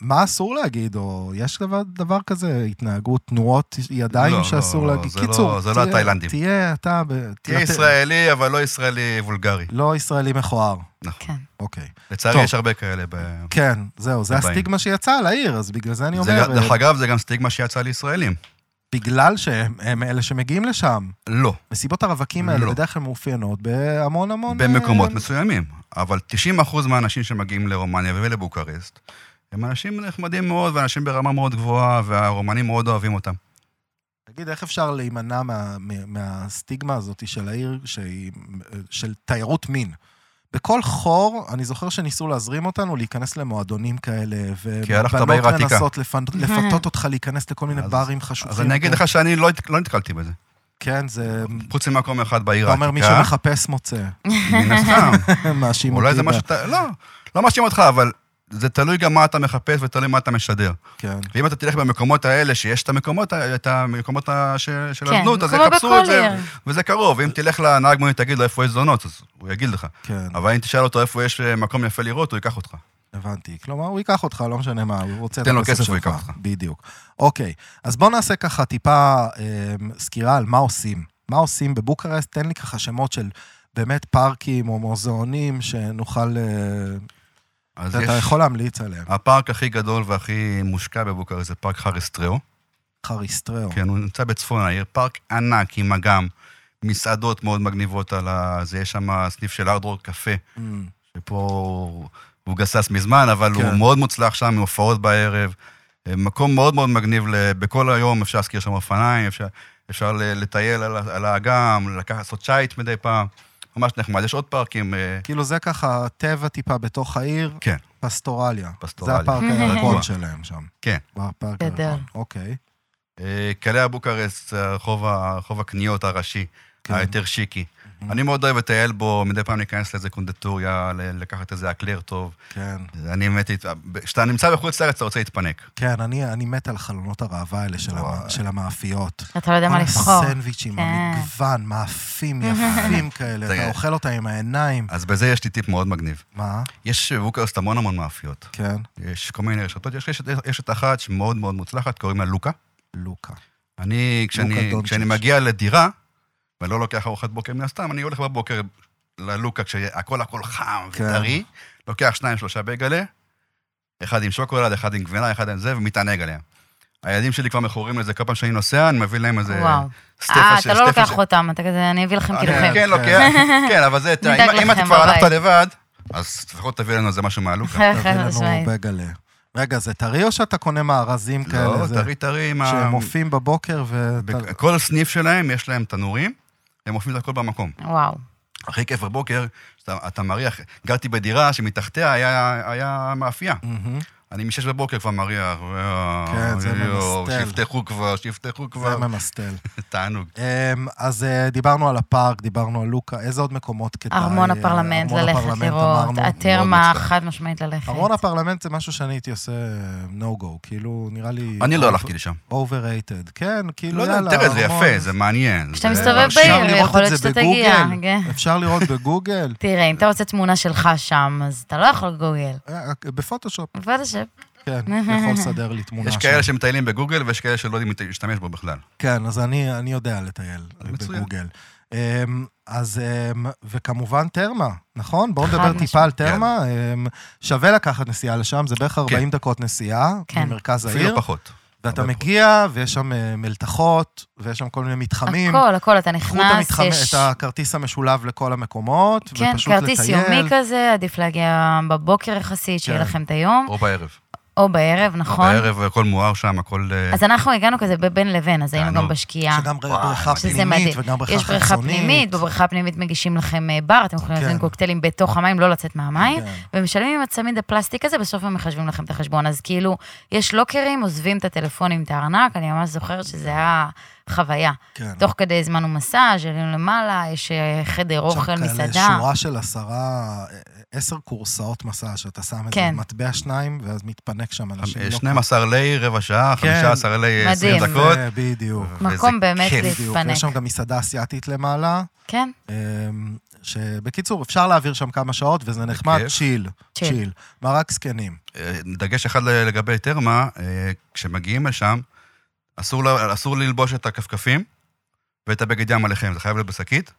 S1: מה אסור להגיד, או יש דבר, דבר כזה, התנהגות, תנועות ידיים
S3: לא,
S1: שאסור
S3: לא,
S1: להגיד?
S3: זה לא-
S1: קיצור,
S3: זה לא
S1: תהיה-
S3: התאילנדים.
S1: תהיה אתה... ב-
S3: תהיה
S1: נת-
S3: ישראלי, אבל לא ישראלי וולגרי.
S1: לא ישראלי מכוער,
S3: נכון.
S2: כן.
S1: אוקיי. טוב.
S3: לצערי, יש הרבה כאלה. ב-
S1: כן, זהו, זה
S3: הבאים.
S1: הסטיגמה שיצאה על העיר, אז בגלל זה אני
S3: זה
S1: אומר,
S3: גם- נכון. דרך
S1: אה,
S3: אגב, זה גם סטיגמה שיצאה לישראלים.
S1: בגלל שהם הם אלה שמגיעים לשם.
S3: לא,
S1: מסיבות הרווקים האלה
S3: לא.
S1: בדרך כלל מאופיינות בהמון המון... אה,
S3: במקומות מסוימים. אבל 90% מהאנשים שמגיעים לרומניה ולבוקרשט, הם אנשים נחמדים מאוד, ואנשים ברמה מאוד גבוהה, והרומנים מאוד אוהבים אותם.
S1: תגיד, איך אפשר להימנע מה, מה, מהסטיגמה הזאת של העיר, שהיא, של תיירות מין? בכל חור, אני זוכר שניסו להזרים אותנו להיכנס למועדונים כאלה,
S3: כי הלכת
S1: ובנות
S3: בעיר העתיקה.
S1: מנסות לפנ... לפתות אותך להיכנס לכל מיני
S3: אז-
S1: ברים חשוכים.
S3: אז אני אגיד
S2: אוקיי.
S3: לך שאני לא הת- לא נתקלתי בזה.
S1: כן, זה...
S3: חוץ ממקום אחד בעיר
S1: אתה אומר, מי
S3: העתיקה.
S1: שמחפש מוצא.
S3: מן הסתם.
S1: מאשים אותי.
S3: אולי זה
S1: ב-
S3: מה שאתה... לא, לא מאשים אותך, אבל זה תלוי גם מה אתה מחפש ותלוי מה אתה משדר.
S1: כן.
S3: ואם אתה תלך במקומות האלה, שיש את המקומות, ה- את המקומות ה- ש- של
S2: כן,
S3: הזנות, אז
S2: כמו
S3: יחפשו את
S2: בכל
S3: זה,
S2: עיר.
S3: וזה קרוב. ואם תלך לנהג מונית, תגיד לו איפה יש זונות, אז הוא יגיד לך.
S1: כן.
S3: אבל אם תשאל אותו איפה יש אה, מקום יפה לראות, הוא ייקח אותך.
S1: הבנתי. כלומר, הוא ייקח אותך, לא משנה מה, הוא רוצה את
S3: תן לו
S1: הכסף
S3: כסף, הוא
S1: שלך.
S3: ייקח אותך.
S1: בדיוק. אוקיי, אז בואו נעשה ככה טיפה אה, סקירה על מה עושים. מה עושים בבוקרשט? תן לי ככה שמות של באמת פארקים או מוזיאונים שנוכל... אה,
S3: אז
S1: אתה
S3: יש...
S1: יכול להמליץ עליהם.
S3: הפארק הכי גדול והכי מושקע בבוקרשט זה פארק חריסטריאו.
S1: חריסטריאו.
S3: כן, הוא נמצא בצפון העיר, פארק ענק עם אגם, מסעדות מאוד מגניבות על ה... זה, יש שם סניף של ארדרור קפה,
S1: Mm,
S3: שפה הוא- הוא גסס מזמן, אבל
S1: כן.
S3: הוא מאוד מוצלח שם, עם הופעות בערב. אה, מקום מאוד מאוד מגניב, ל- בכל היום אפשר להזכיר שם אופניים, אפשר, אפשר ל- לטייל על, ה- על האגם, לקחת, לעשות שייט מדי פעם. ממש נחמד. יש עוד פארקים, אה,
S1: כאילו זה ככה טבע טיפה בתוך העיר,
S3: כן,
S1: פסטורליה.
S3: פסטורליה.
S1: זה הפארק הירקון
S3: רגוע.
S1: שלהם שם.
S3: כן.
S1: הפארק
S2: גדול.
S1: הירקון, אוקיי.
S3: אה, קלע בוקרסט, זה הרחוב ה- רחוב הקניות הראשי,
S1: כן.
S3: היותר שיקי. אני מאוד אוהב לטייל בו, מדי פעם להיכנס לאיזה קונדטוריה, ל- לקחת איזה אקלר טוב.
S1: כן.
S3: אני באמת, הת- כשאתה נמצא בחוץ לארץ, אתה רוצה להתפנק.
S1: כן, אני, אני מת על חלונות הראווה האלה של, המ...
S3: וואי.
S1: של המאפיות.
S2: אתה לא יודע מה לבחור.
S1: כל הסנדוויצ'ים,
S2: כן.
S1: המגוון, מאפים יפים כאלה, אתה
S3: זה-
S1: אוכל אותם עם העיניים.
S3: אז בזה יש לי טיפ מאוד מגניב.
S1: מה?
S3: יש בבוקרסט המון המון מאפיות.
S1: כן,
S3: יש כל מיני רשתות, יש רשת- יש את אחת שמאוד מאוד מוצלחת, קוראים לה לוקה.
S1: לוקה.
S3: אני, כשאני,
S1: דונצ'יץ'.
S3: כשאני מגיע לדירה, ואני לא לוקח ארוחת בוקר מן הסתם, אני הולך בבוקר ללוקה, כשהכול הכל חם
S1: כן.
S3: וטרי, לוקח שניים, שלושה בייגלה, אחד עם שוקולד, אחד עם גבינה, אחד עם זה, ומתענג עליהם. הילדים שלי כבר מכורים לזה, כל פעם שאני נוסע, אני מביא להם איזה...
S2: וואו.
S3: סטפה
S2: אה,
S3: של-
S2: אתה לא
S3: סטפה
S2: לוקח
S3: של-
S2: אותם, אתה כזה, אני אביא לכם כאילו
S3: אני-
S2: קילוחים.
S3: כן, לוקח, כן, אבל זה, אתה-
S2: נדאג
S3: אם- אם את
S2: לכם
S3: כבר
S2: בבית. כן,
S3: הלכת לבד, אז לפחות תביא לנו איזה משהו מהלוקה.
S1: תביא
S2: חד
S1: לנו
S2: משמעית.
S1: בגלה. רגע, זה טרי או שאתה קונה מארזים
S3: לא,
S1: כאלה? כן, זה-
S3: טרי טרי עם ה...
S1: שהם מופיעים בבוקר ו...
S3: בכ- כל סניף שלהם, יש להם תנורים, הם מופיעים את הכל במקום.
S2: וואו.
S3: הכי כיף בבוקר, שאתה אתה מריח, גרתי בדירה שמתחתיה היה, היה מאפייה.
S1: מהמם.
S3: אני משש בבוקר כבר מריח, וואו,
S1: כן, זה
S3: יואו,
S1: ממסטל.
S3: שיפתחו כבר, שיפתחו
S1: זה
S3: כבר,
S1: ממסטל.
S3: תענוג.
S1: אמ, אז אה, דיברנו על הפארק, דיברנו על לוקה, איזה עוד מקומות כדאי?
S2: ארמון
S1: אה,
S2: הפרלמנט,
S1: ארמון
S2: ללכת
S1: הפרלמנט,
S2: לראות,
S1: אמרנו.
S2: התרמה,
S3: מצטער.
S2: חד משמעית ללכת.
S1: ארמון הפרלמנט זה משהו שאני הייתי עושה no-go, כאילו, נראה לי...
S3: אני לא הלכתי לשם.
S1: overrated, כן, כאילו,
S3: לא
S1: יאללה,
S3: יודע, תראה, זה יפה, זה מעניין.
S2: כשאתה
S3: זה
S2: מסתובב
S3: מרשים.
S1: אפשר
S2: בעיר.
S1: לראות
S2: יכול
S1: את
S2: להיות
S1: זה
S2: שאתה תגיע,
S1: בגוגל,
S2: כן.
S1: אפשר לראות בגוגל,
S2: תראה, אם אתה רוצה תמונה שלך שם, אז אתה לא יכול לגוגל.
S1: אה, בפוטושופ,
S2: בפוטושופ.
S1: כן, יכול לסדר לי תמונה
S3: יש
S1: שם.
S3: כאלה שמטיילים בגוגל ויש כאלה שלא יודעים להשתמש בו בכלל.
S1: כן, אז אני, אני יודע לטייל
S3: מצוין.
S1: בגוגל. אמ, אז, אמ, וכמובן תרמה, נכון? בואו
S2: חד
S1: נדבר טיפה
S2: משמעית.
S3: כן.
S1: על תרמה. אמ, שווה לקחת נסיעה לשם, זה בערך 40 דקות נסיעה
S2: כן.
S1: ממרכז העיר.
S3: אפילו פחות.
S1: ואתה
S3: הרבה
S1: מגיע, ויש שם אה, מלתחות, ויש שם כל מיני מתחמים.
S2: הכל, הכל, אתה
S1: קחו את
S2: נכנס,
S1: המתחם-
S2: יש...
S1: את הכרטיס המשולב לכל המקומות,
S2: כן,
S1: ופשוט לטייל.
S2: כרטיס יומי כזה, עדיף להגיע בבוקר יחסית, שיהיה
S1: כן.
S2: לכם את היום,
S3: או בערב.
S2: או בערב, נכון?
S3: בערב הכל מואר שם, הכל... אה,
S2: אז אנחנו הגענו כזה בין לבין, אז היינו
S3: תענוג.
S2: גם בשקיעה.
S1: כן. שגם ר-
S3: וואי,
S1: בריכה
S3: שזה
S1: פנימית
S2: מדהים.
S1: וגם בריכה
S2: יש בריכה
S1: חיצונית.
S2: פנימית, בבריכה הפנימית מגישים לכם אה, בר, אתם יכולים
S1: כן.
S2: להזמין קוקטיילים בתוך המים, לא לצאת מהמים,
S1: כן.
S2: ומשלמים עם הצמיד הפלסטיק הזה, בסוף הם מחשבים לכם את החשבון. אז כאילו, יש לוקרים, עוזבים את הטלפונים, את הארנק, אני ממש זוכרת שזה היה חוויה.
S1: כן.
S2: תוך כדי הזמנו מסאז', עלינו למעלה, יש אה, חדר אוכל,
S1: שם כאלה
S2: מסעדה.
S1: שורה של עשרה, אה, עשר קורסאות מסע, שאתה שם איזה
S2: כן.
S1: מטבע שניים, ואז מתפנק שם אנשים.
S3: אה,
S1: לא-
S3: 12 לי, רבע שעה, 15 לי, 20
S2: מדהים.
S3: דקות.
S1: כן. זה אה, בדיוק,
S2: מקום
S3: וזה
S2: באמת
S3: כיף.
S1: בדיוק.
S2: להתפנק.
S1: יש שם גם מסעדה אסיאתית למעלה,
S2: כן,
S1: אמ, שבקיצור, אפשר להעביר שם כמה שעות, וזה נחמד,
S3: בכיף.
S1: צ'יל,
S2: צ'יל.
S3: לא,
S1: צ'יל. מה, רק זקנים.
S3: אה, דגש אחד ל- לגבי תרמה, אה, כשמגיעים לשם, אסור, ל- אסור ללבוש את הכפכפים ואת הבגד ים עליכם, זה חייב להיות בשקית.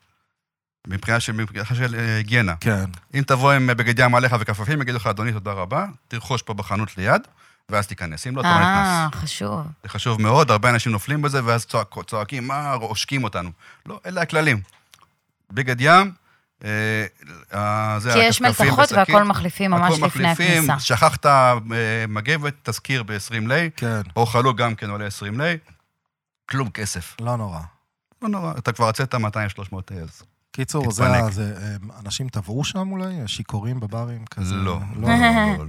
S3: מבחינה של, מבחינה של אה, היגיינה.
S1: כן.
S3: אם תבוא עם בגד ים עליך וכפפים, יגידו לך, אדוני, תודה רבה, תרכוש פה בחנות ליד, ואז תיכנס. אם לא, אתה לא
S2: אה,
S3: נכנס.
S2: חשוב.
S3: זה חשוב מאוד, הרבה אנשים נופלים בזה, ואז צועק, צועקים, מה, עושקים אותנו. לא, אלה הכללים. בגד ים, אה, אה, זה
S2: כי יש
S3: הכפכפים
S2: מלתחות
S3: בשקית.
S2: והכל מחליפים ממש
S3: הכל
S2: לפני
S3: מחליפים,
S2: הכניסה.
S3: שכחת אה, מגבת, תזכיר ב-20 לי,
S1: כן,
S3: או חלוק גם כן עולה 20 לי, כלום כסף.
S1: לא נורא.
S3: לא נורא, אתה כבר הוצאת 200-300 אז.
S1: קיצור, זה
S3: תתפנק.
S1: ה- זה, אמ, אנשים טבעו שם אולי? שיכורים בברים כזה?
S3: לא, לא, לא, לא.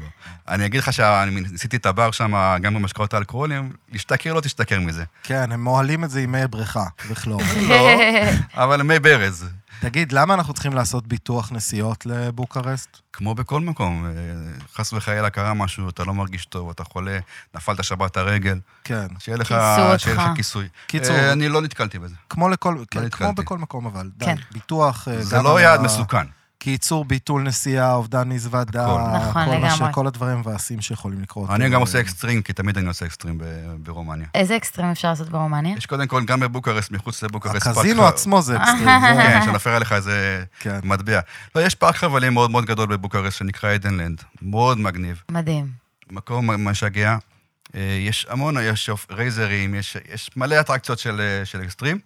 S3: אני אגיד לך שאני ניסיתי את הבר שם, גם במשקאות האלכוהולים, להשתכר לא תשתכר מזה.
S1: כן, הם מוהלים את זה עם מי בריכה וכלום.
S3: לא, אבל מי ברז.
S1: תגיד, למה אנחנו צריכים לעשות ביטוח נסיעות לבוקרשט?
S3: כמו בכל מקום, אה, חס וחלילה קרה משהו, אתה לא מרגיש טוב, אתה חולה, נפלת שבת הרגל,
S1: כן.
S3: שיהיה לך
S2: כיסו אותך.
S3: שיהיה לך כיסוי.
S1: קיצור.
S3: אה, אני לא נתקלתי בזה.
S1: כמו לכל, כן, כמו
S3: נתקלתי.
S1: בכל מקום אבל, די,
S2: כן.
S1: ביטוח, אה,
S3: זה
S1: גם
S3: לא
S1: על
S3: יעד
S1: ה-
S3: מסוכן.
S1: קיצור, ביטול נסיעה, אובדן מזוודה,
S3: הכל.
S2: נכון,
S1: כל מה ש-
S2: לגמרי.
S1: כל הדברים והעשים שיכולים לקרות.
S3: אני
S1: אה,
S3: גם עושה אקסטרים, כי תמיד אני עושה אקסטרים ב- ברומניה.
S2: איזה אקסטרים אפשר לעשות ברומניה?
S3: יש קודם כל, גם בבוקרסט, מחוץ לבוקרסט, פארק
S1: הקזינו
S3: חו-
S1: עצמו זה אקסטרים. זה-
S3: כן, שנופל עליך איזה
S1: כן.
S3: מטבע. לא, יש פארק חבלים מאוד מאוד גדול בבוקרסט, שנקרא עדנלנד. מאוד מגניב.
S2: מדהים.
S3: מקום משגע. אה, יש המון, יש שופ- רייזרים, יש, יש מלא אטרקציות של, אה, של אקסטרים.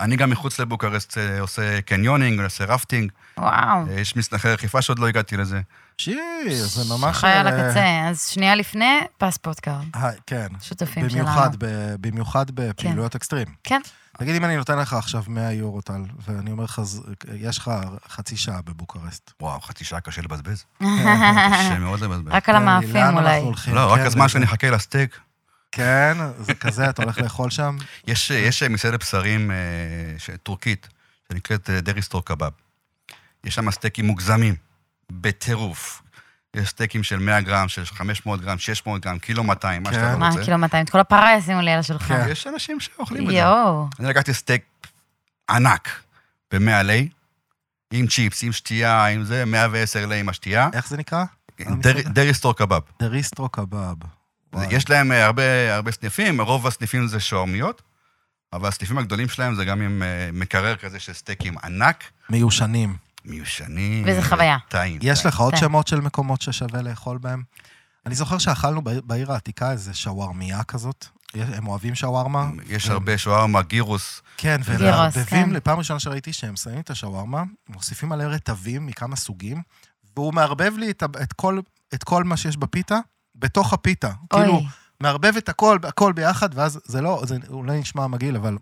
S3: אני גם מחוץ לבוקרשט אה, עושה קניונינג, עושה רפטינג,
S2: וואו.
S3: אה, יש מסנחי רכיפה שעוד לא הגעתי לזה.
S1: שיר, זה ממש...
S2: חי על
S1: אה,
S2: הקצה. אז שנייה לפני, פספורט קארד.
S1: ה- כן.
S2: שותפים
S1: במיוחד,
S2: שלנו.
S1: ב- במיוחד בפעילויות אקסטרים.
S2: כן.
S1: נגיד אם אני נותן לך עכשיו 100 יורו טל, ואני אומר לך, "ז- יש לך חצי שעה בבוקרשט.
S3: וואו, חצי שעה קשה לבזבז.
S2: רק
S3: קשה מאוד לבזבז.
S2: על
S1: תן לי, אה, לאן
S2: המאפים
S1: אנחנו
S2: אולי.
S1: הולכים?
S3: לא, רק
S1: כן,
S3: הזמן
S1: זה-
S3: שאני אחכה לסטייק.
S1: כן, זה כזה, אתה הולך לאכול שם?
S3: יש, אה, יש מסעדת בשרים אה, ש- טורקית, שנקראת אה, דריסטור קבב. יש שם סטייקים מוגזמים, בטירוף. יש סטייקים של 100 גרם, של 500 גרם, 600 גרם, קילו 200, מה
S1: כן.
S3: שאתה לא
S2: מה,
S3: רוצה.
S2: קילו 200? את כל הפרה ישימו לי על השולחן.
S1: כן.
S3: יש אנשים שאוכלים את זה.
S2: יואו.
S3: אני לקחתי סטייק ענק ב-100 לי, עם צ'יפס, עם שתייה, עם זה, 110 לי עם השתייה.
S1: איך זה נקרא?
S3: דר- דריסטור קבב.
S1: דריסטרו קבב. וואי.
S3: יש להם אה, הרבה, הרבה סניפים, רוב הסניפים זה שעומיות, אבל הסניפים הגדולים שלהם זה גם עם אה, מקרר כזה של סטייקים ענק,
S1: מיושנים.
S3: מיושנים.
S2: וזה חוויה.
S3: טעים.
S1: יש
S3: טעים.
S1: לך עוד
S2: כן.
S1: שמות של מקומות ששווה לאכול בהם? אני זוכר שאכלנו בעיר- בעיר העתיקה איזה שווארמיה כזאת. יש- הם אוהבים שווארמה?
S3: יש
S1: הם-
S3: הרבה שווארמה, גירוס.
S1: כן,
S3: גירוס,
S1: ומערבבים,
S2: כן.
S1: לפעם ראשונה שראיתי שהם שמים את השווארמה, מוסיפים עליה רטבים מכמה סוגים, והוא מערבב לי את, ה- את, כל, את כל מה שיש בפיתה, בתוך הפיתה.
S2: אוי.
S1: כאילו, מערבב את הכל, הכל ביחד, ואז זה לא, זה אולי נשמע מגעיל, אבל...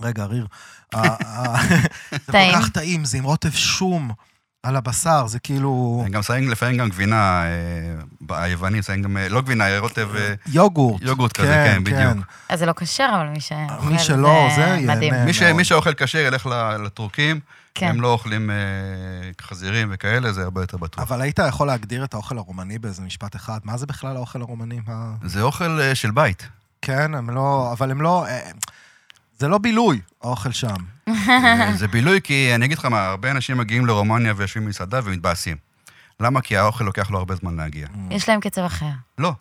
S1: רגע, ריר. ה- ה- זה כל
S2: טעים.
S1: כך טעים, זה עם רוטב שום על הבשר, זה כאילו
S3: הם גם שמים לפעמים גם גבינה, אה, ב- היוונים שמים גם, אה, לא גבינה, רוטב, אה,
S1: יוגורט.
S3: יוגורט כזה, כן, בדיוק.
S2: אז זה לא כשר, אבל מי שאוכל
S1: אה, מי שלא, זה ייהנה.
S2: מדהים.
S3: מי ש-
S1: כן, מאוד.
S3: מי שאוכל כשר ילך ל- לטורקים,
S2: כן.
S3: הם לא אוכלים אה, חזירים וכאלה, זה הרבה יותר בטוח.
S1: אבל היית יכול להגדיר את האוכל הרומני באיזה משפט אחד, מה זה בכלל האוכל הרומני? מה-
S3: זה אוכל אה, של בית.
S1: כן, הם לא, אבל הם לא, אה, זה לא בילוי, האוכל שם.
S3: אה, זה בילוי כי, אני אגיד לך מה, הרבה אנשים מגיעים לרומניה ויושבים במסעדה ומתבאסים. למה? כי האוכל לוקח לו הרבה זמן להגיע.
S2: יש להם קצב אחר.
S3: לא.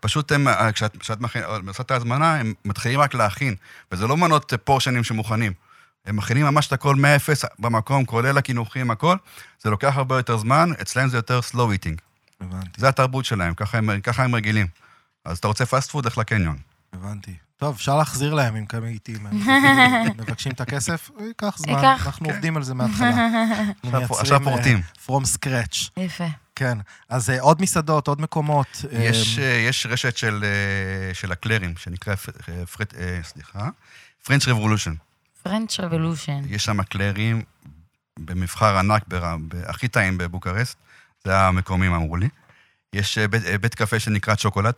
S3: פשוט הם, אה, כשאת, כשאת מכין, עושה את ההזמנה, הם מתחילים רק להכין, וזה לא מנות אה, פורשנים שמוכנים. הם מכינים ממש את הכל מאפס במקום, כולל הקינוחים, הכל. זה לוקח הרבה יותר זמן, אצלהם זה יותר slow eating.
S1: הבנתי,
S3: זה התרבות שלהם, ככה הם, ככה הם רגילים. אז אתה רוצה fast food, לך לקניון.
S1: הבנתי. טוב, אפשר להחזיר להם אם כמה איטים. הם מבקשים את הכסף, אה, ייקח זמן.
S2: ייקח.
S1: אנחנו עובדים על זה מההתחלה. אנחנו
S3: עכשיו-
S1: מייצרים,
S3: עכשיו
S1: אה,
S3: פורטים.
S1: From scratch,
S2: יפה.
S1: כן. אז אה, עוד מסעדות, עוד מקומות. אה,
S3: יש, אה, יש רשת של, אה, של הקלרים, שנקרא, פ- אה, פרט- אה, סליחה, French Revolution.
S2: פרנץ' רבולושן.
S3: יש שם קלרים במבחר ענק, בר... ב- הכי טעים בבוקרשט, זה המקומים אמרו לי. יש אה, בית, אה, בית קפה שנקרא צ'וקולד,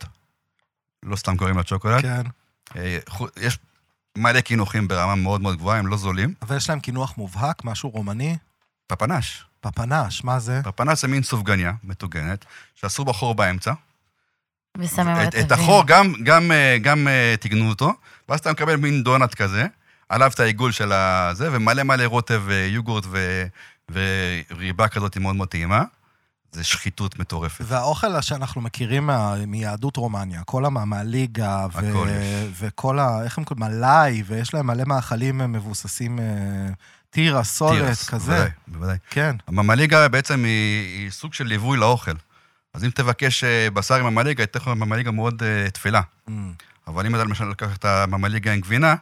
S3: לא סתם קוראים לה צ'וקולד.
S1: כן.
S3: אה, חו- יש מלא קינוחים ברמה מאוד מאוד גבוהה, הם לא זולים.
S1: אבל יש להם קינוח מובהק, משהו רומני.
S3: פפנש.
S1: פפנש, מה זה?
S3: פפנש זה מין סופגניה מטוגנת, שעשו בה חור באמצע.
S2: מסמם
S3: את, את החור גם, גם, אה, גם אה, טיגנו אותו, ואז אתה מקבל מין דונלד כזה, עליו את העיגול של הזה, ומלא מלא רוטב ויוגורט ו, וריבה כזאת מאוד מאוד טעימה. זה שחיתות מטורפת.
S1: והאוכל שאנחנו מכירים מה, מיהדות רומניה, כל המה, מהליגה, ו,
S3: הכל יש.
S1: וכל ה... איך הם קוראים? מלאי, ויש להם מלא מאכלים אה, מבוססים... אה, טירה, סולת,
S3: תירס,
S1: כזה.
S3: בוודאי, בוודאי.
S1: כן.
S3: הממליגה בעצם היא, היא סוג של ליווי לאוכל. אז אם תבקש אה, בשר עם ממליגה, היא תכף ממליגה מאוד אה, תפלה. אבל אם אתה למשל לקח את הממליגה עם גבינה,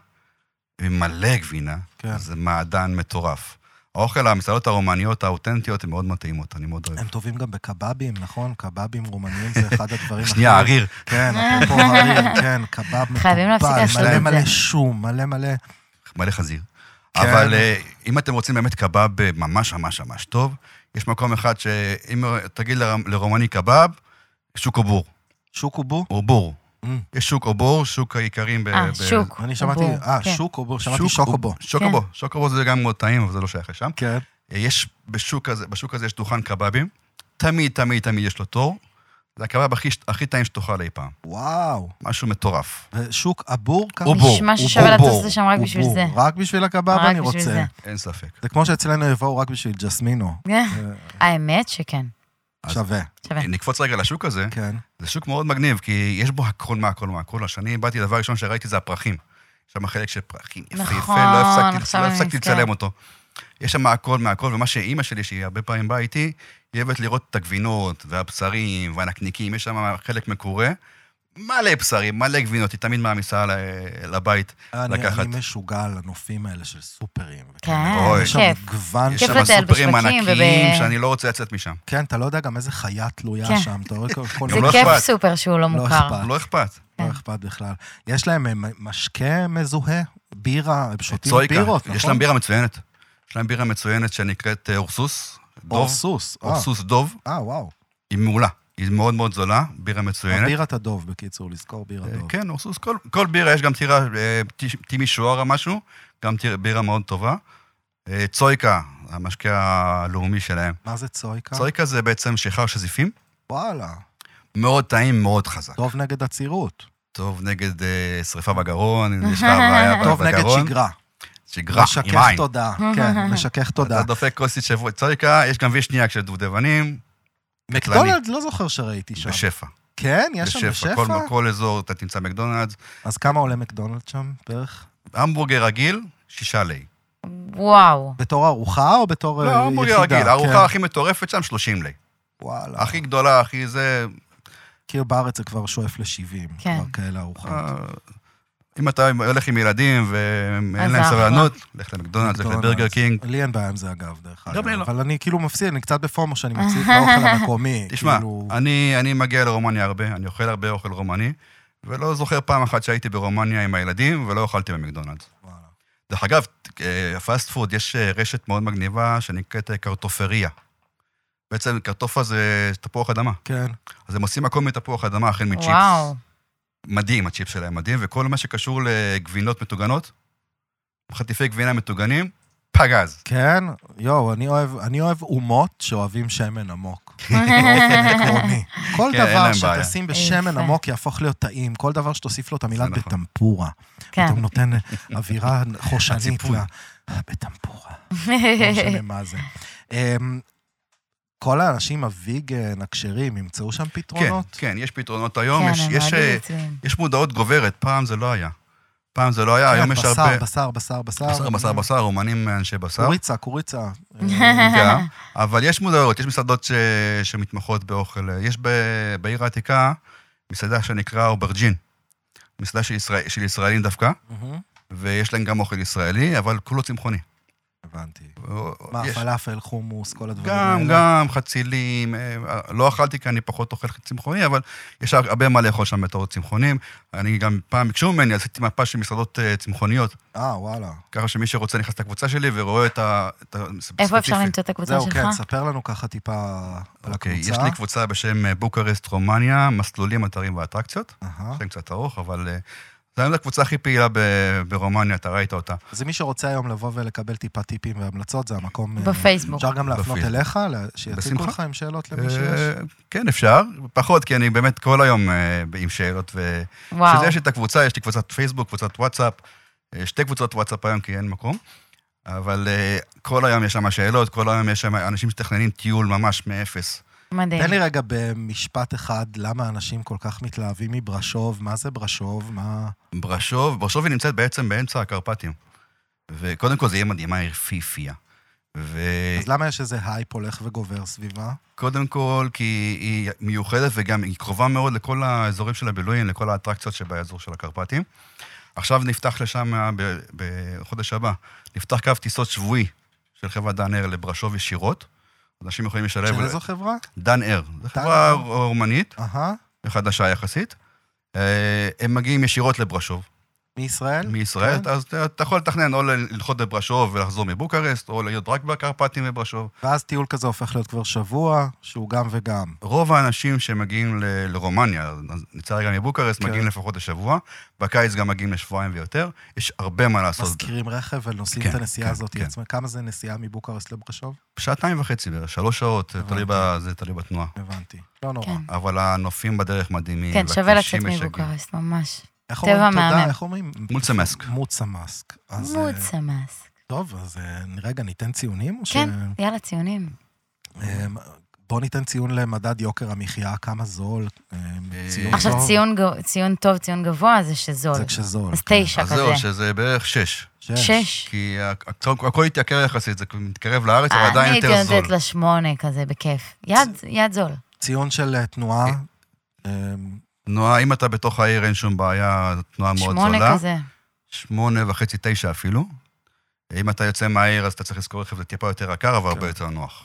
S3: עם מלא גבינה,
S1: כן.
S3: אז זה מעדן מטורף. האוכל, המסעדות הרומניות האותנטיות, הן מאוד מתאימות, אני מאוד אוהב.
S1: הם טובים גם בקבבים, נכון? קבבים רומניים זה אחד הדברים הכי...
S3: שנייה, עריר.
S1: כן, אפרופו הריר, כן, קבב מטופל.
S2: חייבים להפסיק לעשות
S1: מלא
S2: את
S1: מלא
S2: זה.
S1: שום, מלא מלא...
S3: מלא חזיר.
S1: כן.
S3: אבל אה, אם אתם רוצים באמת קבב אה, ממש ממש ממש טוב, יש מקום אחד שאם אה, תגיד לר- לרומני קבב, שוק או בור.
S1: שוקובו?
S3: או בור.
S1: Mm.
S3: יש שוק או בור, שוק האיכרים ב...
S2: אה,
S3: ב-
S2: שוק. כן.
S1: אני שמעתי...
S2: בור,
S1: אה,
S2: כן.
S1: שוקובו, שמעתי שוקובו.
S3: שוקובו, שוקובו זה גם מאוד טעים, אבל זה לא שייך לשם.
S1: כן.
S3: אה, יש בשוק הזה, בשוק הזה יש דוכן קבבים, תמיד, תמיד, תמיד יש לו תור. זה הקבב הכי, הכי טעים שתאכל אי פעם.
S1: וואו.
S3: משהו מטורף.
S1: ושוק אבור ככה?
S3: הוא בור,
S2: נשמע
S3: הוא
S2: ששווה
S3: בור,
S2: לטוס
S3: בור,
S2: לשם רק בשביל
S1: הוא
S2: זה.
S1: בור. רק בשביל הקבב
S2: רק
S1: אני
S2: בשביל
S1: רוצה.
S2: זה.
S3: אין ספק.
S1: זה כמו שאצלנו יבואו רק בשביל ג'סמינו.
S2: כן.
S1: אה.
S2: האמת שכן.
S3: אז-
S1: שווה,
S2: שווה.
S3: נקפוץ רגע לשוק הזה.
S1: כן.
S3: זה שוק מאוד מגניב, כי יש בו הכל מהכל מהכל. השני, באתי, הדבר הראשון שראיתי זה הפרחים. יש שם חלק של פרחים יפהפה,
S2: נכון,
S3: לא הפסקתי,
S2: עכשיו
S3: לא
S2: אני
S3: הפסקתי
S2: נזכרת.
S3: לצלם אותו. יש שם הכל מהכל, ומה שאימא שלי, שהיא הרבה פעמים באה איתי, היא אוהבת לראות את הגבינות, והבשרים, והנקניקים, יש שם חלק מקורה. מלא בשרים, מלא גבינות, היא תמיד מעמיסה ל- לבית
S1: אה, אני,
S3: לקחת.
S1: אני משוגע על הנופים האלה של סופרים.
S2: כן,
S3: אוי.
S1: יש שם
S2: כיף.
S1: מגוון
S3: יש
S2: כיף
S3: שם
S2: לטייל
S3: סופרים
S2: בשווקים
S3: ענקיים
S2: וב-
S3: שאני לא רוצה לצאת משם.
S1: כן, אתה לא יודע גם איזה חיה תלויה
S2: כן.
S1: שם, אתה רואה כל- כל...
S2: זה
S3: לא
S2: כיף כן.
S3: אכפת.
S2: סופר שהוא לא מוכר.
S1: אכפת.
S3: לא אכפת.
S1: לא אכפת בכלל. יש להם אה, מ- משקה מזוהה, בירה, הם שותים
S3: צויקה,
S1: בירות, נכון?
S3: יש להם בירה מצוינת. יש להם בירה מצוינת שנקראת אה, אורסוס. דוב.
S1: אורסוס. אה,
S3: אורסוס דוב.
S1: אה, וואו.
S3: היא מעולה. היא מאוד מאוד זולה, בירה מצוינת.
S1: בירת הדוב, בקיצור, לזכור בירת
S3: אה,
S1: דוב.
S3: כן, אורסוס, כל, כל בירה, יש גם טירה, אה, טי- טימי שוארה משהו, גם טיר- בירה מאוד טובה. אה, צויקה, המשקה הלאומי שלהם.
S1: מה זה צויקה?
S3: צויקה זה בעצם שיכר שזיפים,
S1: וואלה.
S3: מאוד טעים, מאוד חזק.
S1: טוב נגד עצירות.
S3: טוב נגד אה, שריפה בגרון, יש לך בעיה
S2: אה.
S3: אה, בגרון.
S1: טוב נגד שגרה.
S3: שגרה, עם
S1: משכך
S3: עין.
S1: תודעה. כן, משכך תודעה.
S3: אתה דופק כוסית שבוע צויקה, יש גם וישניאק של דובדבנים,
S1: מקדונלד לא זוכר שראיתי שם.
S3: בשפע.
S1: כן, יש שם בשפע?
S3: כל, כל אזור אתה תמצא מקדונלדס.
S1: אז כמה עולה מקדונלד שם בערך?
S3: המבורגר רגיל, שישה לי.
S2: וואו.
S1: בתור ארוחה או בתור אה,
S3: לא,
S1: יחידה?
S3: המבורגר רגיל,
S1: כן.
S3: הארוחה הכי מטורפת שם, 30 לי.
S1: וואלה.
S3: הכי גדולה, הכי זה...
S1: כאילו בארץ זה כבר שואף ל-70.
S2: כן.
S1: כבר כאלה ארוחות.
S3: אה, אם אתה הולך עם ילדים
S2: אז
S3: ואין להם
S2: האחלה.
S3: סבלנות, לך למקדונלדס, לך לברגר
S1: מקדונלדס.
S3: קינג.
S1: לי אין בעיה עם זה, אגב, דרך אגב.
S3: לי לא.
S1: אבל אני כאילו מפסיד, אני קצת בפומו שאני מפסיד את האוכל המקומי.
S3: תשמע,
S1: כאילו,
S3: אני אני מגיע לרומניה הרבה, אני אוכל הרבה אוכל רומני, ולא זוכר פעם אחת שהייתי ברומניה עם הילדים ולא אכלתי במקדונלדס.
S1: וואלה.
S3: דרך אגב, אה, פאסט פוד, יש אה, רשת מאוד מגניבה שנקראת אה, קרטופריה. בעצם קרטופה זה תפוח אדמה.
S1: כן.
S3: אז הם עושים הכל מתפוח אדמה, החל מצ'יפס.
S2: וואו.
S3: מדהים, הצ'יפ שלהם מדהים, וכל מה שקשור לגבינות מטוגנות, חטיפי גבינה מטוגנים, פגז.
S1: כן, יואו, אני אוהב, אני אוהב אומות שאוהבים שמן עמוק. עקרוני. כל
S3: כן, אין
S1: דבר
S3: להם בעיה.
S1: שתשים בשמן
S2: יפה.
S1: עמוק יאפוך להיות טעים, כל דבר שתוסיף לו את המילה
S3: זה נכון.
S1: בטמפורה.
S2: כן.
S1: פתאום נותן אווירה חושנית
S3: הציפוי.
S1: לה. בטמפורה, לא
S2: כן.
S1: משנה מה זה. אמ, כל האנשים הוויגן, הכשרים, ימצאו שם
S3: כן,
S1: פתרונות?
S3: כן, יש פתרונות
S2: כן,
S3: היום, יש,
S2: הם
S3: יש,
S2: מאוד
S3: אה,
S2: מצויים.
S3: יש מודעות גוברת, פעם זה לא היה. פעם זה לא היה, היום יש
S1: כן, בשר,
S3: הרבה...
S1: בשר, בשר, בשר. אוקיי.
S3: בשר, בשר, בשר, אומנים אנשי בשר.
S1: קוריצה, קוריצה. אה,
S3: גם, אבל יש מודעות, יש מסעדות ש... שמתמחות באוכל. יש ב... בעיר העתיקה מסעדה שנקרא אוברג'ין. מסעדה של, ישראל... של ישראלים דווקא,
S1: מהמם.
S3: ויש להם גם אוכל ישראלי, אבל כולו צמחוני.
S1: הבנתי. מה,
S3: מה,
S1: פלאפל, חומוס, כל הדברים האלה?
S3: גם, גם חצילים, אה, לא אכלתי כי אני פחות אוכל צמחוני, אבל יש הרבה מה לאכול שם בתור צמחונים. אני גם, פעם ביקשו ממני, עשיתי מפה של מסעדות אה, צמחוניות,
S1: אה, וואלה.
S3: ככה שמי שרוצה נכנס לקבוצה שלי ורואה את ה... את ה-
S2: איפה אפשר
S3: ספציפי.
S2: למצוא את הקבוצה
S1: זהו,
S2: שלך?
S1: כן, ספר לנו ככה טיפה על
S3: אוקיי,
S1: הקבוצה.
S3: יש לי קבוצה בשם אה, בוקרשט רומניה, מסלולים, אתרים ואטרקציות.
S1: אהה.
S3: שם קצת ארוך, אבל אה, זו היום הקבוצה הכי פעילה ב- ברומניה, אתה ראית אותה.
S1: אז מי שרוצה היום לבוא ולקבל טיפה טיפים והמלצות, זה המקום... אה,
S2: בפייסבוק.
S1: אפשר גם להפנות
S3: בפייסבוק.
S1: אליך, ל- שיציגו
S3: בשמחה.
S1: לך עם שאלות למי שיש.
S3: אה, כן, אפשר, פחות, כי אני באמת כל היום אה, עם שאלות ו...
S2: וואו.
S3: שזה יש לי את הקבוצה, יש לי קבוצת פייסבוק, קבוצת וואטסאפ, אה, שתי קבוצות וואטסאפ היום כי אין מקום, אבל אה, כל היום יש שם שאלות, כל היום יש שם אנשים שמתכננים טיול ממש מאפס.
S2: מדהים.
S1: תן לי רגע במשפט אחד, למה אנשים כל כך מתלהבים מברשוב? מה זה ברשוב? מה...
S3: ברשוב, ברשוב היא נמצאת בעצם באמצע הקרפטים. וקודם כל זה יהיה מדהימה יפיפייה.
S1: אז
S3: וקודם
S1: למה יש איזה הייפ הולך וגובר סביבה?
S3: כל, כי היא מיוחדת וגם היא קרובה מאוד לכל האזורים של הבילויים, לכל האטרקציות שבאזור של הקרפטים. עכשיו נפתח לשם, ב- בחודש הבא, נפתח קו טיסות שבועי של חברת דן אר לברשוב ישירות. אנשים יכולים לשלב...
S1: של איזו חברה?
S3: דן אר. זו חברה
S1: אר.
S3: רומנית,
S1: אהה,
S3: חדשה יחסית. אה, הם מגיעים ישירות לברשוב.
S1: מישראל?
S3: מישראל,
S1: כן.
S3: אז אתה- אתה יכול לתכנן או ללחוץ בברשוב ולחזור מבוקרשט, או להיות רק בקרפטים בברשוב.
S1: ואז טיול כזה הופך להיות כבר שבוע, שהוא גם וגם.
S3: רוב האנשים שמגיעים ל- לרומניה, נצא גם מבוקרשט,
S1: כן.
S3: מגיעים לפחות לשבוע, בקיץ גם מגיעים לשבועיים ויותר, יש הרבה מה לעשות.
S1: מזכירים רכב ונוסעים
S3: כן,
S1: את הנסיעה
S3: כן,
S1: הזאת
S3: כן.
S1: עצמה. כמה זה נסיעה מבוקרשט לברשוב?
S3: שעתיים וחצי בערך, שלוש שעות, זה תלוי ב- זה תלוי בתנועה.
S1: הבנתי. לא נורא.
S2: כן.
S3: אבל הנופים בדרך מדהימים.
S2: כן, שווה
S3: והכבישים
S2: לצאת
S3: משגעים.
S2: מבוקרשט, ממש.
S1: איך
S2: טבע
S1: אומרים תודה?
S2: מהמם.
S1: איך אומרים?
S3: מוצה מסק.
S1: מוצה מאסק. אז, אה,
S2: מוצה מאסק.
S1: טוב, אז אה, רגע, ניתן ציונים? או ש-
S2: כן, יאללה, ציונים.
S1: אה, בוא ניתן ציון למדד יוקר המחיה, כמה זול. אה, ציון
S2: עכשיו
S1: טוב.
S2: ציון גב- ציון טוב, ציון גבוה, זה שזול.
S1: זה כשזול. כן.
S2: אז תשע
S3: אז זהו,
S2: כזה.
S3: שזה בערך שש.
S1: שש.
S2: שש.
S3: כי הכ- הכ- הכל התייקר יחסית, זה מתקרב לארץ, אבל
S2: אה, אני
S3: עדיין
S2: הייתי
S3: יותר זול.
S2: נותנת לה שמונה כזה, בכיף. יד, יד זול.
S1: ציון של אה, תנועה. אה,
S3: תנועה, אם אתה בתוך העיר, אין שום בעיה, זו תנועה מאוד זולה.
S2: שמונה כזה.
S3: שמונה וחצי, תשע אפילו. אם אתה יוצא מהעיר, אז אתה צריך לזכור רכב, זה טיפה יותר יקר, אבל
S1: כן.
S3: הרבה יותר נוח.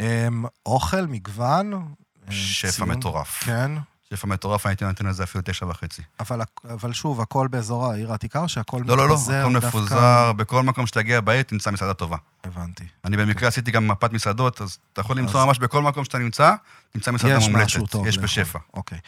S1: אמ, אוכל, מגוון. אמ,
S3: שפע
S1: ציון.
S3: מטורף.
S1: כן,
S3: שפע מטורף, הייתי נותן לזה אפילו תשע וחצי.
S1: אבל, הכ- אבל שוב, הכל באזור העיר העתיקה, או שהכל
S3: לא, לא, לא,
S1: מתפזר
S3: הכל
S1: דווקא?
S3: מפוזר, בכל מקום שתגיע בעיר תמצא מסעדה טובה.
S1: הבנתי.
S3: אני במקרה עשיתי גם מפת מסעדות, אז אתה יכול למצוא
S1: כן. אז-
S3: ממש בכל מקום שאתה נמצא, תמצא מסעדה
S1: יש
S3: מומלצת.
S1: משהו טוב.
S3: יש
S1: לאכול.
S3: בשפע.
S1: אוקיי.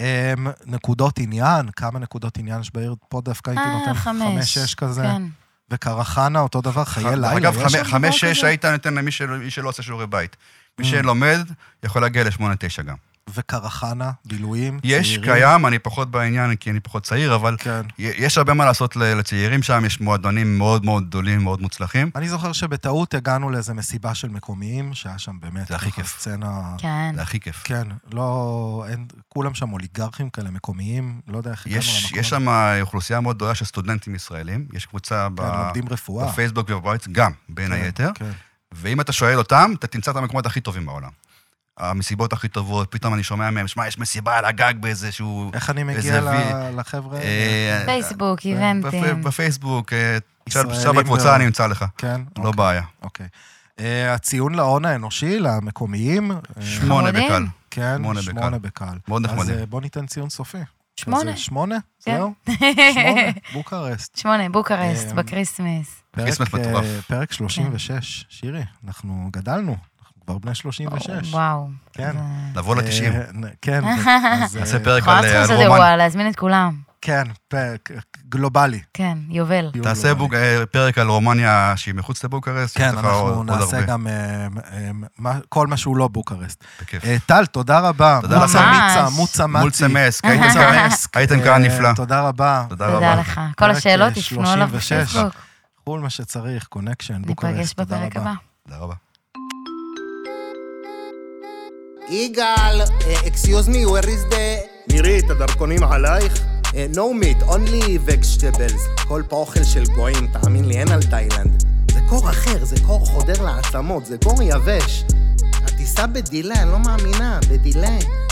S1: אמ, נקודות עניין, כמה נקודות עניין יש בעיר? פה דווקא הייתי
S2: אה,
S1: נותן
S2: חמש.
S1: חמש, שש כזה.
S2: כן.
S1: וקרחנה, אותו דבר, חיי
S3: דרך
S1: לילה.
S3: אגב,
S1: יש
S3: חמש-
S1: שם?
S3: חמש,
S2: דבר
S3: שש
S2: כזה?
S3: היית נותן למי שלא- מי שלא עושה שיעורי בית. מי
S1: אה.
S3: שלומד, יכול להגיע לשמונה, תשע גם.
S1: וקרחנה, בילויים.
S3: יש,
S1: צעירים.
S3: קיים, אני פחות בעניין, כי אני פחות צעיר, אבל
S1: כן.
S3: יש הרבה מה לעשות ל- לצעירים שם, יש מועדונים מאוד מאוד גדולים, מאוד מוצלחים.
S1: אני זוכר שבטעות הגענו לאיזה מסיבה של מקומיים, שהיה שם באמת...
S3: זה הכי
S1: ככה
S3: כיף.
S1: סצנה...
S2: כן.
S3: זה הכי כיף.
S1: כן, לא... אין... כולם שם אוליגרכים כאלה מקומיים, לא יודע איך הגענו
S3: יש
S1: למקום
S3: יש
S1: הזה.
S3: שם אה, אוכלוסייה מאוד גדולה של סטודנטים ישראלים, יש קבוצה ב-
S1: כן, לומדים רפואה.
S3: בפייסבוק ובבית, גם, בין
S1: כן,
S3: היתר.
S1: כן.
S3: ואם אתה שואל אותם, אתה תמצא את המקומות הכי טובים בעולם. המסיבות הכי טובות, פתאום אני שומע מהם, שמע, יש מסיבה על הגג באיזה שהוא...
S1: איך אני מגיע
S3: איזה
S1: ל-
S3: וי-
S1: לחבר'ה?
S3: אה,
S2: פייסבוק,
S3: בפ-
S2: איבנטים.
S3: בפייסבוק, אה, תשאל
S1: ישראלים
S3: תשאל
S1: מאוד.
S3: בקבוצה, אני אמצא לך.
S1: כן?
S3: לא
S1: אוקיי,
S3: בעיה.
S1: אוקיי. אה, הציון להון האנושי, למקומיים, אה,
S3: שמונה
S2: חמודים.
S3: בקל.
S1: כן,
S3: שמונה
S1: שמונה
S3: בקהל.
S1: בקהל.
S3: מאוד
S1: אז
S3: נחמדים.
S1: אה, בוא ניתן ציון סופי.
S2: שמונה.
S1: אז, אה, שמונה?
S2: כן.
S1: זהו? שמונה, בוקרשט.
S2: שמונה, בוקרשט,
S1: אמ,
S2: בקריסמס.
S1: פרק,
S3: כריסמס
S1: אה,
S3: מטורף.
S1: פרק 36, שירי, אנחנו גדלנו, אנחנו כבר בני 36.
S2: וואו.
S1: כן.
S2: זה-
S3: נבוא לתשעים.
S1: אה, נ- כן, ו- אז, אה,
S3: נעשה פרק
S2: יכולה
S3: על
S2: לעשות
S3: אה, על
S2: את זה,
S3: רומן.
S2: וואלה, להזמין את כולם.
S1: כן, פרק גלובלי.
S2: כן, יובל.
S1: טיול
S3: תעשה
S1: גלובלי.
S3: בוק- אה, פרק על רומניה שהיא מחוץ לבוקרסט.
S1: כן,
S3: יש לך עוד-
S1: אנחנו
S3: עוד
S1: נעשה
S3: הרבה.
S1: גם אה, אה, מה- כל מה שהוא לא בוקרשט.
S3: בכיף.
S1: אה, טל, תודה רבה.
S3: תודה
S1: מוצה
S2: לכם.
S1: מיצה,
S2: ממש.
S1: מוצה מצי.
S3: מול צמס, כי הייתם
S1: מוצה
S3: כאן-
S1: מסק,
S3: הייתם
S1: אה,
S3: כאן נפלא.
S1: תודה רבה.
S3: תודה
S2: תודה
S3: רבה.
S2: לך. כל
S1: פרק, אה,
S2: השאלות תפנו אליו
S1: 36.
S2: בפייסבוק.
S1: כל מה שצריך, קונקשן,
S2: ניפגש
S1: בוקרשט. תודה
S2: בפרק
S1: רבה.
S2: הבא.
S3: תודה רבה.
S4: יגאל, אקסיוז מי, where is the...
S5: מירי, את הדרכונים עלייך?
S4: אה, No meat, only vegetables. כל פה אוכל של גויים, תאמין לי, אין על תאילנד. זה קור אחר, זה קור חודר לעצמות, זה קור יבש. את תיסע בדילה, אני לא מאמינה, בדילה.